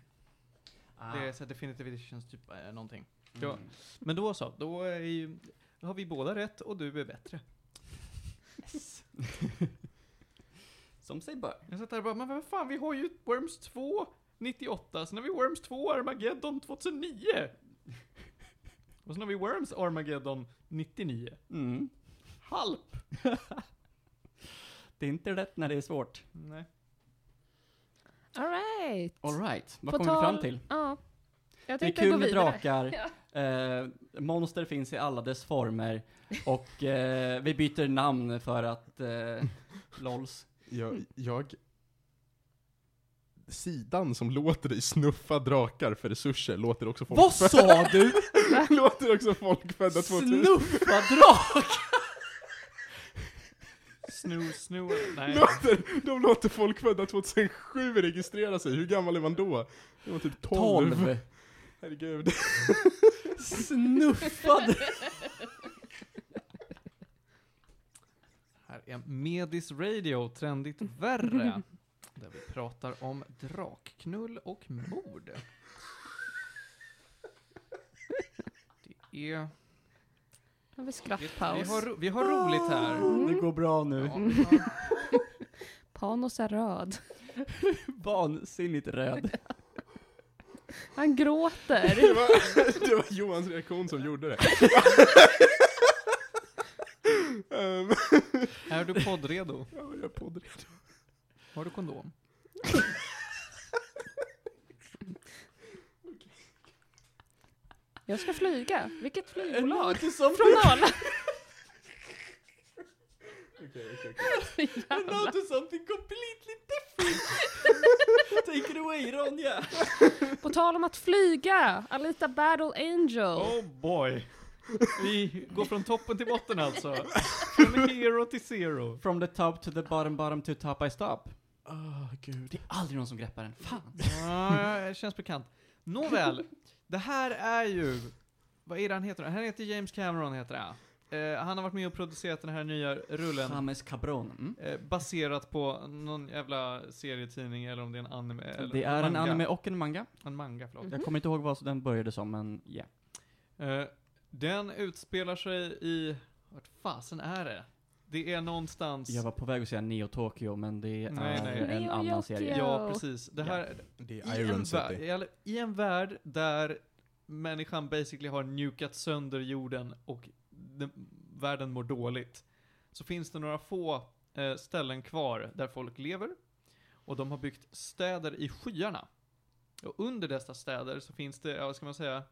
D: Ah.
A: Det är så här definitive editions, typ eh, någonting.
D: Mm.
A: Ja. Men då så, då är ju, då har vi båda rätt och du är bättre.
D: Som sig bör.
A: Jag satt där och bara, men vad fan, vi har ju Worms 2 98, sen har vi Worms 2 Armageddon 2009. [laughs] Och sen har vi Worms Armageddon 99.
D: Mm.
A: Halp!
D: [laughs] Det är inte rätt när det är svårt.
A: Nej.
E: All right.
D: Alright, vad
E: På
D: kommer vi
E: tal-
D: fram till?
E: Ja. Jag
D: Det är
E: tänkte
D: kul
E: gå
D: med
E: vidare.
D: drakar,
E: [laughs]
D: eh, monster finns i alla dess former och eh, vi byter namn för att
E: [laughs]
D: eh, LOLs.
B: Jag, jag... Sidan som låter dig snuffa drakar för resurser låter också folk...
D: Vad sa
E: [laughs]
D: du?
B: [laughs] låter också folk födda 2000...
D: Snuffa [laughs] drak!
A: Snoo, snoo. Nej.
B: Låter, de låter folk födda 2007 registrera sig, hur gammal är man då? Det var typ 12.
D: 12!
B: Herregud.
D: Snuffa drak!
A: Här är Medis Radio, trendigt värre. Där vi pratar om drakknull och mord. Det är...
E: Har
A: Vi,
E: vi
A: vi,
E: skrattpaus?
A: har, ro- vi har roligt här.
D: Mm. Det går bra nu.
A: Ja, vi har-
E: Panos är röd.
D: Vansinnigt röd.
E: Han gråter.
B: Det var, det var Johans reaktion som gjorde det. Ehm,
A: Är du poddredo?
B: ja, jag är poddredo.
A: Har du kondom?
E: Jag ska flyga. Vilket flygbolag?
D: Låter som
E: Från Arlanda.
B: Okej, okej,
E: [laughs]
D: Låter something completely different! Take it away Ronja!
E: På tal om att flyga. Alita Battle Angel.
A: Oh boy. Vi går från toppen till botten [laughs] alltså. Från hero till zero.
D: From the top to the bottom, bottom to top I stop.
B: Ah, gud.
D: Det är aldrig någon som greppar den. Fan!
A: Ja, det känns bekant. Nåväl, det här är ju... Vad är det han heter? Han heter James Cameron, heter det. Eh, han har varit med och producerat den här nya rullen.
D: James Cabron. Mm.
A: Eh, baserat på någon jävla serietidning eller om det är en anime. Eller
D: Det är en
A: Eh, manga.
D: anime och en manga.
A: En manga, förlåt.
E: Mm.
D: Jag kommer inte ihåg vad den började som, men ja.
A: Eh, den utspelar sig i... Vart fasen är det? Det är någonstans...
D: Jag var på väg att säga Neo Tokyo, men det är
A: Nej, nej.
D: en
E: Neo
D: annan
E: Tokyo.
D: serie.
A: Ja, precis. Det här,
B: Det är
A: I en,
B: Iron
A: värld,
B: City.
A: eller, I en värld där människan basically har nukat sönder jorden och den, världen mår dåligt. Så finns det några få eh, ställen kvar där folk lever. Och de har byggt städer i skyarna. Och under dessa städer så finns det, ja, vad ska man säga,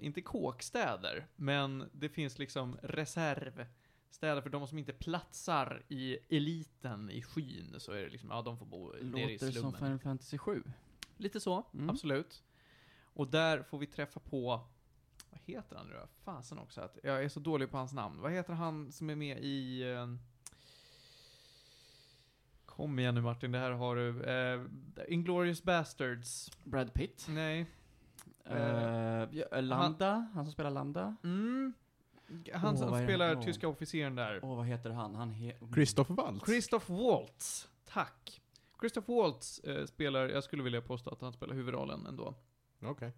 A: inte kåkstäder, men det finns liksom reservstäder för de som inte platsar i eliten i skyn. Så är det liksom, ja de får bo nere i
D: Låter
A: slummen.
D: som Final Fantasy 7.
A: Lite så,
D: Mm.
A: absolut. Och där får vi träffa på, vad heter han nu då? Fasen också att jag är så dålig på hans namn. Vad heter han som är med i... Eh, kom igen nu Martin, det här har du. Eh, Inglorious Bastards.
D: Brad Pitt.
A: Nej.
D: Mm. Eh, ja, Lambda, han, som spelar Lambda.
A: Mm. Han
D: Åh,
A: som
D: vad är det?
A: spelar
D: Åh.
A: tyska officeren där.
D: Åh, vad heter han? Han he
B: Christoph Waltz.
A: Christoph Waltz, tack. Christoph Waltz eh, spelar, jag skulle vilja påstå att han spelar huvudrollen ändå.
B: Okej.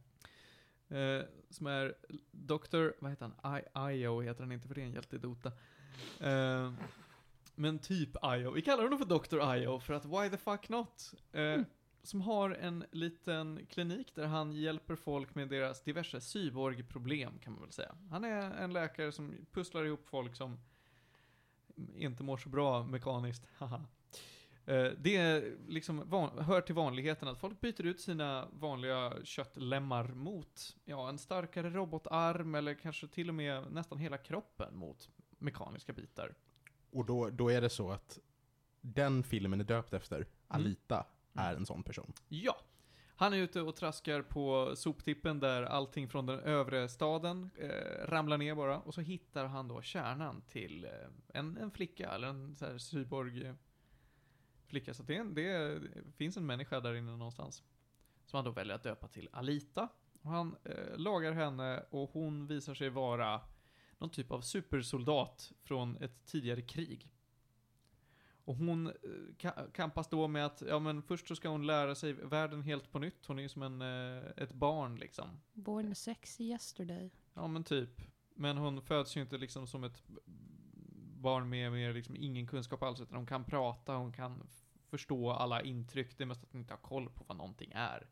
A: Eh, som är Dr. Vad heter han? I- Io heter han inte för det är en hjälte i Dota. Eh, men typ Io. Vi kallar honom för Dr. Io för att why the fuck not? Eh, Som har en liten klinik där han hjälper folk med deras diverse cyborgproblem kan man väl säga. Han är en läkare som pusslar ihop folk som inte mår så bra mekaniskt. [laughs] Haha. Eh, Det är liksom van, hör till vanligheten att folk byter ut sina vanliga köttlemmar mot ja, en starkare robotarm eller kanske till och med nästan hela kroppen mot mekaniska bitar.
B: Och då, då är det så att den filmen är döpt efter Alita är en sån person.
A: Ja. Han är ute och traskar på soptippen där allting från den övre staden eh, ramlar ner bara. Och så hittar han då kärnan till eh, en, en flicka, eller en så här cyborg eh, flicka. Så det, är en- det är- det finns en människa där inne någonstans. Som han då väljer att döpa till Alita. Och han eh, lagar henne och hon visar sig vara någon typ av supersoldat från ett tidigare krig. Och hon eh, ka- kampas då med att, ja men först så ska hon lära sig världen helt på nytt. Hon är ju som en, eh, ett barn liksom.
E: Born sexy yesterday.
A: Ja men typ. Men hon föds ju inte liksom som ett b- barn med, med liksom ingen kunskap alls, utan hon kan prata, hon kan f- förstå alla intryck. Det är mest att hon inte har koll på vad någonting är.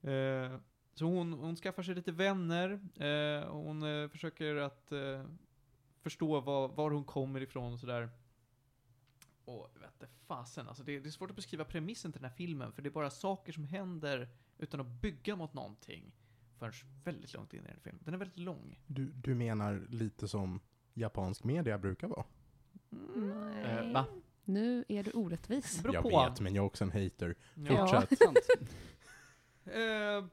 A: Eh, så hon, hon skaffar sig lite vänner, eh, och hon eh, försöker att eh, förstå var, var hon kommer ifrån och sådär. Och vet du, fasen, alltså det, det är svårt att beskriva premissen till den här filmen, för det är bara saker som händer utan att bygga mot någonting förrän väldigt långt in i den här filmen. Den är väldigt lång.
B: Du, du menar lite som japansk media brukar vara?
E: Nej.
D: Eh, va?
E: Nu är du orättvis.
A: Det beror
B: jag
A: på.
B: vet, men jag är också en hater.
A: Ja.
B: Fortsätt.
D: Sant.
A: Eh,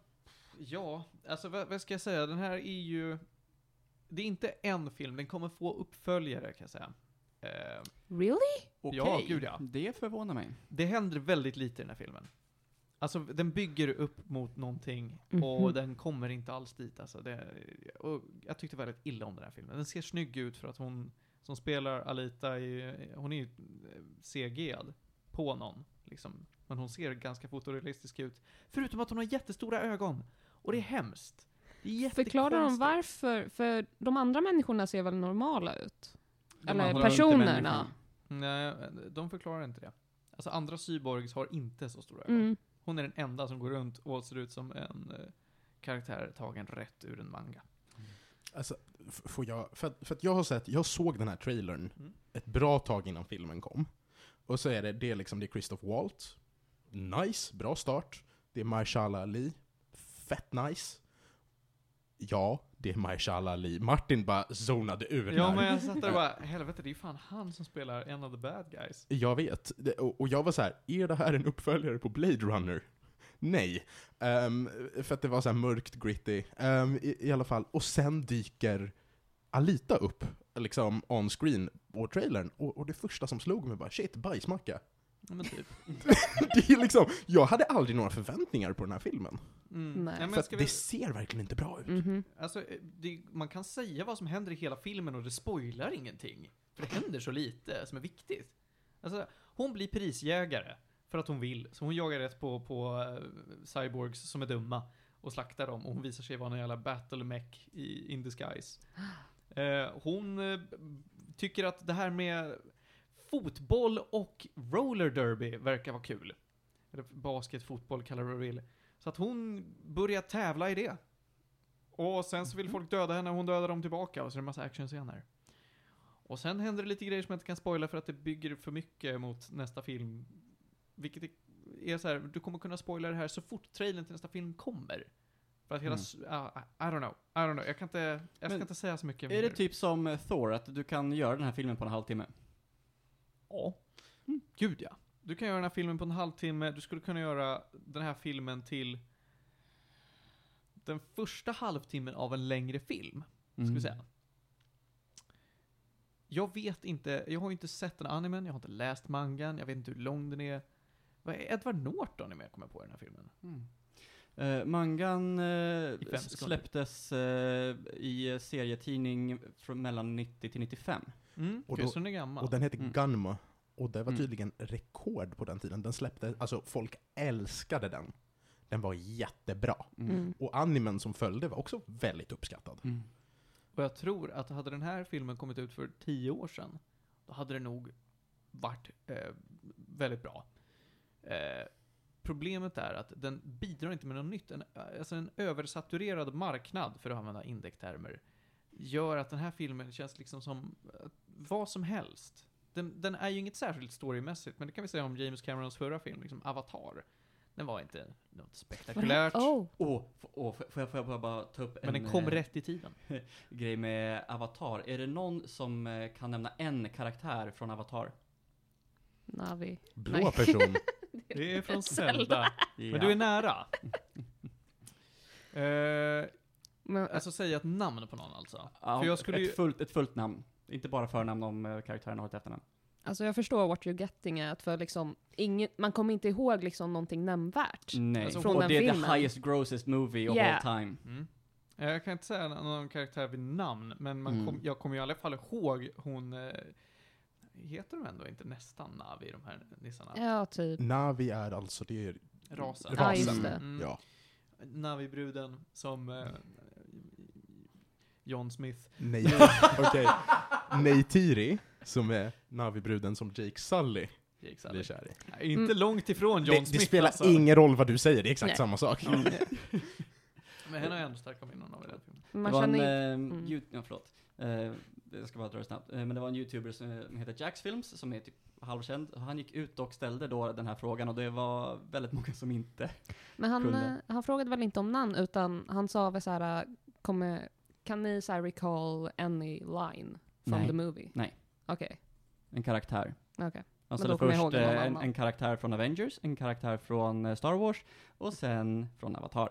A: ja, alltså vad, vad ska jag säga? Den här är ju... Det är inte en film, den kommer få uppföljare kan jag säga. Eh,
E: Really?
D: Okej,
A: Ja, gud, ja.
D: det förvånar mig.
A: det händer väldigt lite i den här filmen. Alltså den bygger upp mot någonting och
E: Mhm.
A: den kommer inte alls dit. Alltså, det, och jag tyckte väldigt illa om den här filmen. Den ser snygg ut för att hon som spelar Alita, är, hon är ju CG'ad på någon. Liksom. Men hon ser ganska fotorealistisk ut. Förutom att hon har jättestora ögon. Och det är hemskt. Det är jättekonstigt.
E: Mm. Förklarar de varför? För de andra människorna ser väl normala ut? Eller
D: andra
E: personerna.
D: inte
A: Nej,
D: människan.
A: de förklarar inte det. Alltså andra cyborgs har inte så stora ögon.
E: Mm.
A: Hon är den enda som går runt och ser ut som en eh, karaktär tagen rätt ur en manga.
B: Alltså, f- får jag, för, att, för att jag har sett, jag såg den här trailern
A: Mm.
B: ett bra tag innan filmen kom. Och så är det, det är liksom, det är Christoph Waltz. Nice, bra start. Det är Mahershala Ali. Fett nice. Ja, det är Mahershala Ali. Martin bara zonade ur
A: Ja,
B: där.
A: men jag satt där och bara, helvete, det är ju fan han som spelar en av the bad guys.
B: Jag vet. Det- Och och jag var så här, är det här en uppföljare på Blade Runner? Nej. Ehm, för att det var så här mörkt, gritty. Ehm, i, I alla fall. Och sen dyker Alita upp, liksom on screen, på trailern. Och, och det första som slog mig var shit, bajsmacka.
A: Ja, men typ.
B: [laughs] Det är liksom, jag hade aldrig några förväntningar på den här filmen.
A: Mm.
E: Nej.
A: Ja, men
B: för att
A: ska
B: det
A: vi,
B: ser verkligen inte bra ut.
D: Mm.
E: Mhm.
A: alltså, eh, det, man kan säga vad som händer i hela filmen och det spoilar ingenting. För det händer så lite som är viktigt. Alltså, hon blir prisjägare för att hon vill. Så hon jagar rätt på, på eh, cyborgs som är dumma och slaktar dem. Och hon visar sig vara en jävla battle mech i, in disguise. Eh, hon eh, tycker att det här med fotboll och roller derby verkar vara kul. Eller basket, fotboll, kallar du vad du vill. Så att hon börjar tävla i det. Och sen så vill folk döda henne och hon dödar dem tillbaka och så är det en massa actionscener. Och sen händer det lite grejer som jag inte kan spoila för att det bygger för mycket mot nästa film. Vilket är- är så här, du kommer kunna spoila det här så fort trailern till nästa film kommer. För att hela,
C: Mm.
A: s- ah, I, I don't know, I don't know, jag kan inte, jag ska
D: Men
A: inte säga så mycket
D: Är det
A: mer.
D: typ som eh, Thor, att du kan göra den här filmen på en halvtimme? typ-
A: Ja.
D: Mm.
A: Gud ja. Du kan göra den här filmen på en halvtimme, du skulle kunna göra den här filmen till den första halvtimmen av en längre film, ska
D: Mm.
A: vi säga. Jag vet inte, jag har ju inte sett den animen, jag har inte läst mangan, jag vet inte hur lång den är. Vad är Edward Norton är med, kommer jag på, i den här filmen.
D: Mm. Eh, mangan eh,
A: fem
D: s-
A: sekunder.
D: släpptes eh, i eh, serietidning från mellan 90 till 95.
A: Mm,
B: Och
A: och
B: då-
A: den är gammal.
B: Och den heter
D: Mm.
B: Gunma. Och det var
D: Mm.
B: tydligen rekord på den tiden. Den släppte, alltså folk älskade den. Den var jättebra.
E: Mm.
B: Och animen som följde var också väldigt uppskattad.
D: Mm.
A: Och jag tror att hade den här filmen kommit ut för tio år sedan, då hade det nog varit eh, väldigt bra. Eh, problemet är att den bidrar inte med något nytt. En, alltså en översaturerad marknad, för att använda indektermer, gör att den här filmen känns liksom som eh, vad som helst. Den, den är ju inget särskilt storymässigt, men det kan vi säga om James Camerons förra film, liksom Avatar. Den var inte något spektakulärt,
E: Oh,
D: Åh, f- åh, f- får, jag, får jag bara- bara ta upp
A: men
D: en
A: den kom
D: eh,
A: rätt i tiden.
D: grej med Avatar? Är det någon som eh, kan nämna en karaktär från Avatar?
E: Navi.
B: Blå
E: Nej.
A: [laughs]
B: person.
A: Det är från Zelda. Men du är nära. [laughs] Eh,
E: Men,
A: alltså säga ett namn på någon alltså.
D: Ja,
A: för jag skulle
D: ett,
A: ju-
D: fullt, ett fullt namn. Inte bara förnamn om eh, karaktären har ett efternamn.
E: Alltså jag förstår what you're getting at, för liksom, ingen, man kommer inte ihåg liksom någonting nämnvärt.
D: Nej.
A: Alltså,
E: från
D: och
E: den
D: det är
E: filmen.
D: the highest grossest movie of
E: Yeah.
D: all time.
A: Mm. Eh, Jag kan inte säga någon annan karaktär vid namn, men man
D: Mm.
A: kom, jag kommer ju i alla fall ihåg hon... Eh, heter de ändå inte nästan Navi, de här nissarna?
E: Ja, typ.
B: Navi är alltså, det är...
A: Rasen.
E: Ja, just det.
A: Mm.
B: Ja.
A: Navi-bruden som... Eh, John Smith.
B: Nej,
A: [laughs]
B: okej. Neytiri, som är Navi-bruden som Jake Sully
A: Jake Sully.
B: blir kär i.
A: Nej, Inte långt ifrån John
B: Det,
A: Smith
B: det spelar
A: alltså. Mm.
B: ingen roll vad du säger, det är exakt
E: Nej.
B: samma sak.
A: Men henne har jag ändå starka minnen av i den filmen.
E: Man
D: det var en,
E: känner ju...
D: eh,
E: mm.
D: ju- ja, förlåt. Eh, jag ska bara dra det snabbt. Eh, men det var en youtuber som eh, heter Jacks Films, som är typ halvkänd. Han gick ut och ställde då den här frågan och det var väldigt många som inte...
E: Men han,
D: kunde.
E: eh, han frågade väl inte om namn, utan han sa väl såhär, kommer, kan ni såhär recall any line from
D: Nej.
E: the movie?
D: Nej.
E: Okej,
D: En karaktär.
E: okej.
D: Han
E: Men då
D: ställde
E: kommer jag
D: först
E: ihåg någon
D: eh, en,
E: annan.
D: en karaktär från Avengers, en karaktär från eh, Star Wars och sen från Avatar.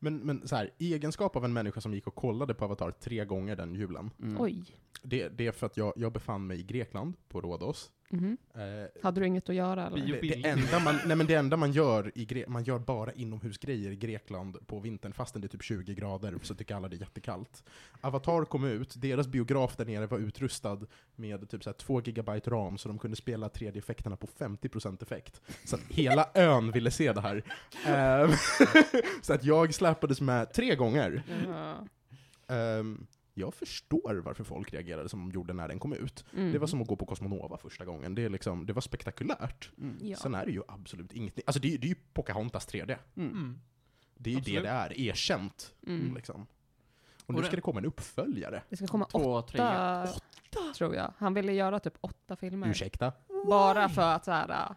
B: Men, men så här, i egenskap av en människa som gick och kollade på Avatar tre gånger den julen.
D: Mm.
E: Oj.
B: Det, det är för att jag, jag befann mig i Grekland, på Rhodos.
E: Mhm.
B: Eh,
E: Hade du inget att göra eller?
A: Bio-
B: Det,
A: Bild.
B: det, enda man, nej men det enda man gör i Gre- man gör bara inomhusgrejer i Grekland på vintern fastän det är typ 20 grader, så tycker alla det är jättekallt. Avatar kom ut, deras biograf där nere var utrustad med typ så här 2 gigabyte ram, så de kunde spela 3D-effekterna på 50% effekt. Så att hela ön ville se
A: [laughs]
B: det här. Ehm, [laughs] så att jag släpades med tre gånger.
E: Jaha.
B: Ehm, jag förstår varför folk reagerade som de gjorde när den kom ut.
E: Mm.
A: Mhm.
B: Det var som att gå på Cosmonova första gången, det, är liksom, det var spektakulärt.
D: Mm.
E: Ja.
B: Sen är det ju absolut inget nytt. Alltså det är, ju- det är ju Pocahontas 3D.
D: Mm.
A: Mm.
B: Det är ju
A: Absolut.
B: det det är, erkänt.
E: Mm.
B: Liksom. Och
A: Och
B: nu
A: det-
B: ska det komma en uppföljare.
E: Det ska komma åtta,
D: Två, tre.
E: tror jag. Han ville göra typ åtta filmer.
B: Ursäkta?
E: Bara för att såhär,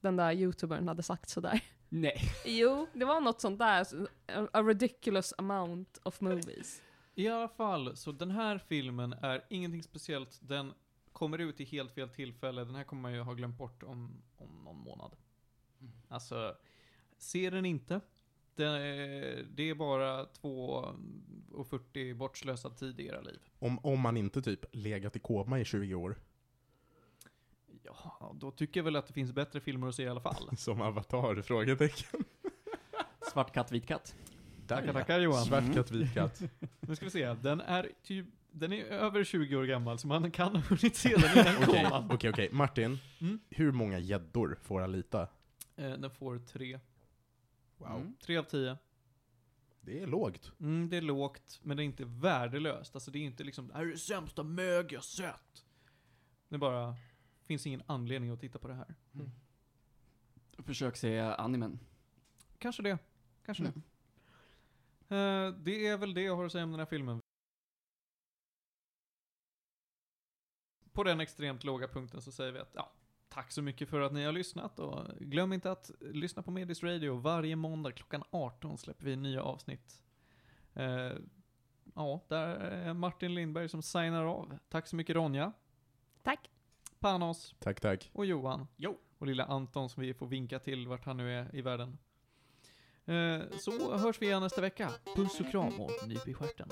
E: den där youtubern hade sagt sådär.
D: Nej.
E: Jo, det var något sånt där. A- A ridiculous amount of movies.
A: I alla fall, så den här filmen är ingenting speciellt. Den kommer ut i helt fel tillfälle. Den här kommer man ju ha glömt bort om, om någon månad. Alltså, se den inte. Det är, det är bara 2.40 bortslösad tid i era liv.
B: Om, om man inte typ legat i koma i 20 år.
A: Ja, då tycker jag väl att det finns bättre filmer att se i alla fall.
B: Som avatar? Frågetecken.
D: Svart katt, vit katt.
A: Tackar, tackar Johan.
B: Svart katt,
A: [laughs]
B: vit katt.
A: [laughs] Nu ska vi se, den är typ, den är över 20 år gammal så man kan ha hunnit se den [laughs] innan den
B: Okej,
A: kom.
B: okej, okej. Martin.
A: Mm.
B: Hur många gäddor får Alita?
A: Eh, den får 3.
D: Mm.
A: 3 av 10.
B: Det är lågt.
A: Mm, det är lågt, men det är inte värdelöst. Alltså det är inte liksom, det här är det sämsta mög jag sett. Det är bara, finns ingen anledning att titta på det här.
D: Försök se animen.
A: Kanske det. Kanske
D: Mm.
A: det. Eh, det är väl det jag har att säga om den här filmen. På den extremt låga punkten så säger vi att ja, tack så mycket för att ni har lyssnat och glöm inte att lyssna på Medis Radio. Varje måndag klockan 18 släpper vi nya avsnitt. Eh, ja, där är Martin Lindberg som signar av. Tack så mycket Ronja,
E: Tack.
A: Panos
B: Tack, tack.
A: och Johan.
D: Jo.
A: Och lilla Anton som vi får vinka till vart han nu är i världen. Eh, Så hörs vi igen nästa vecka. Puss och kram och nyp i stjärten.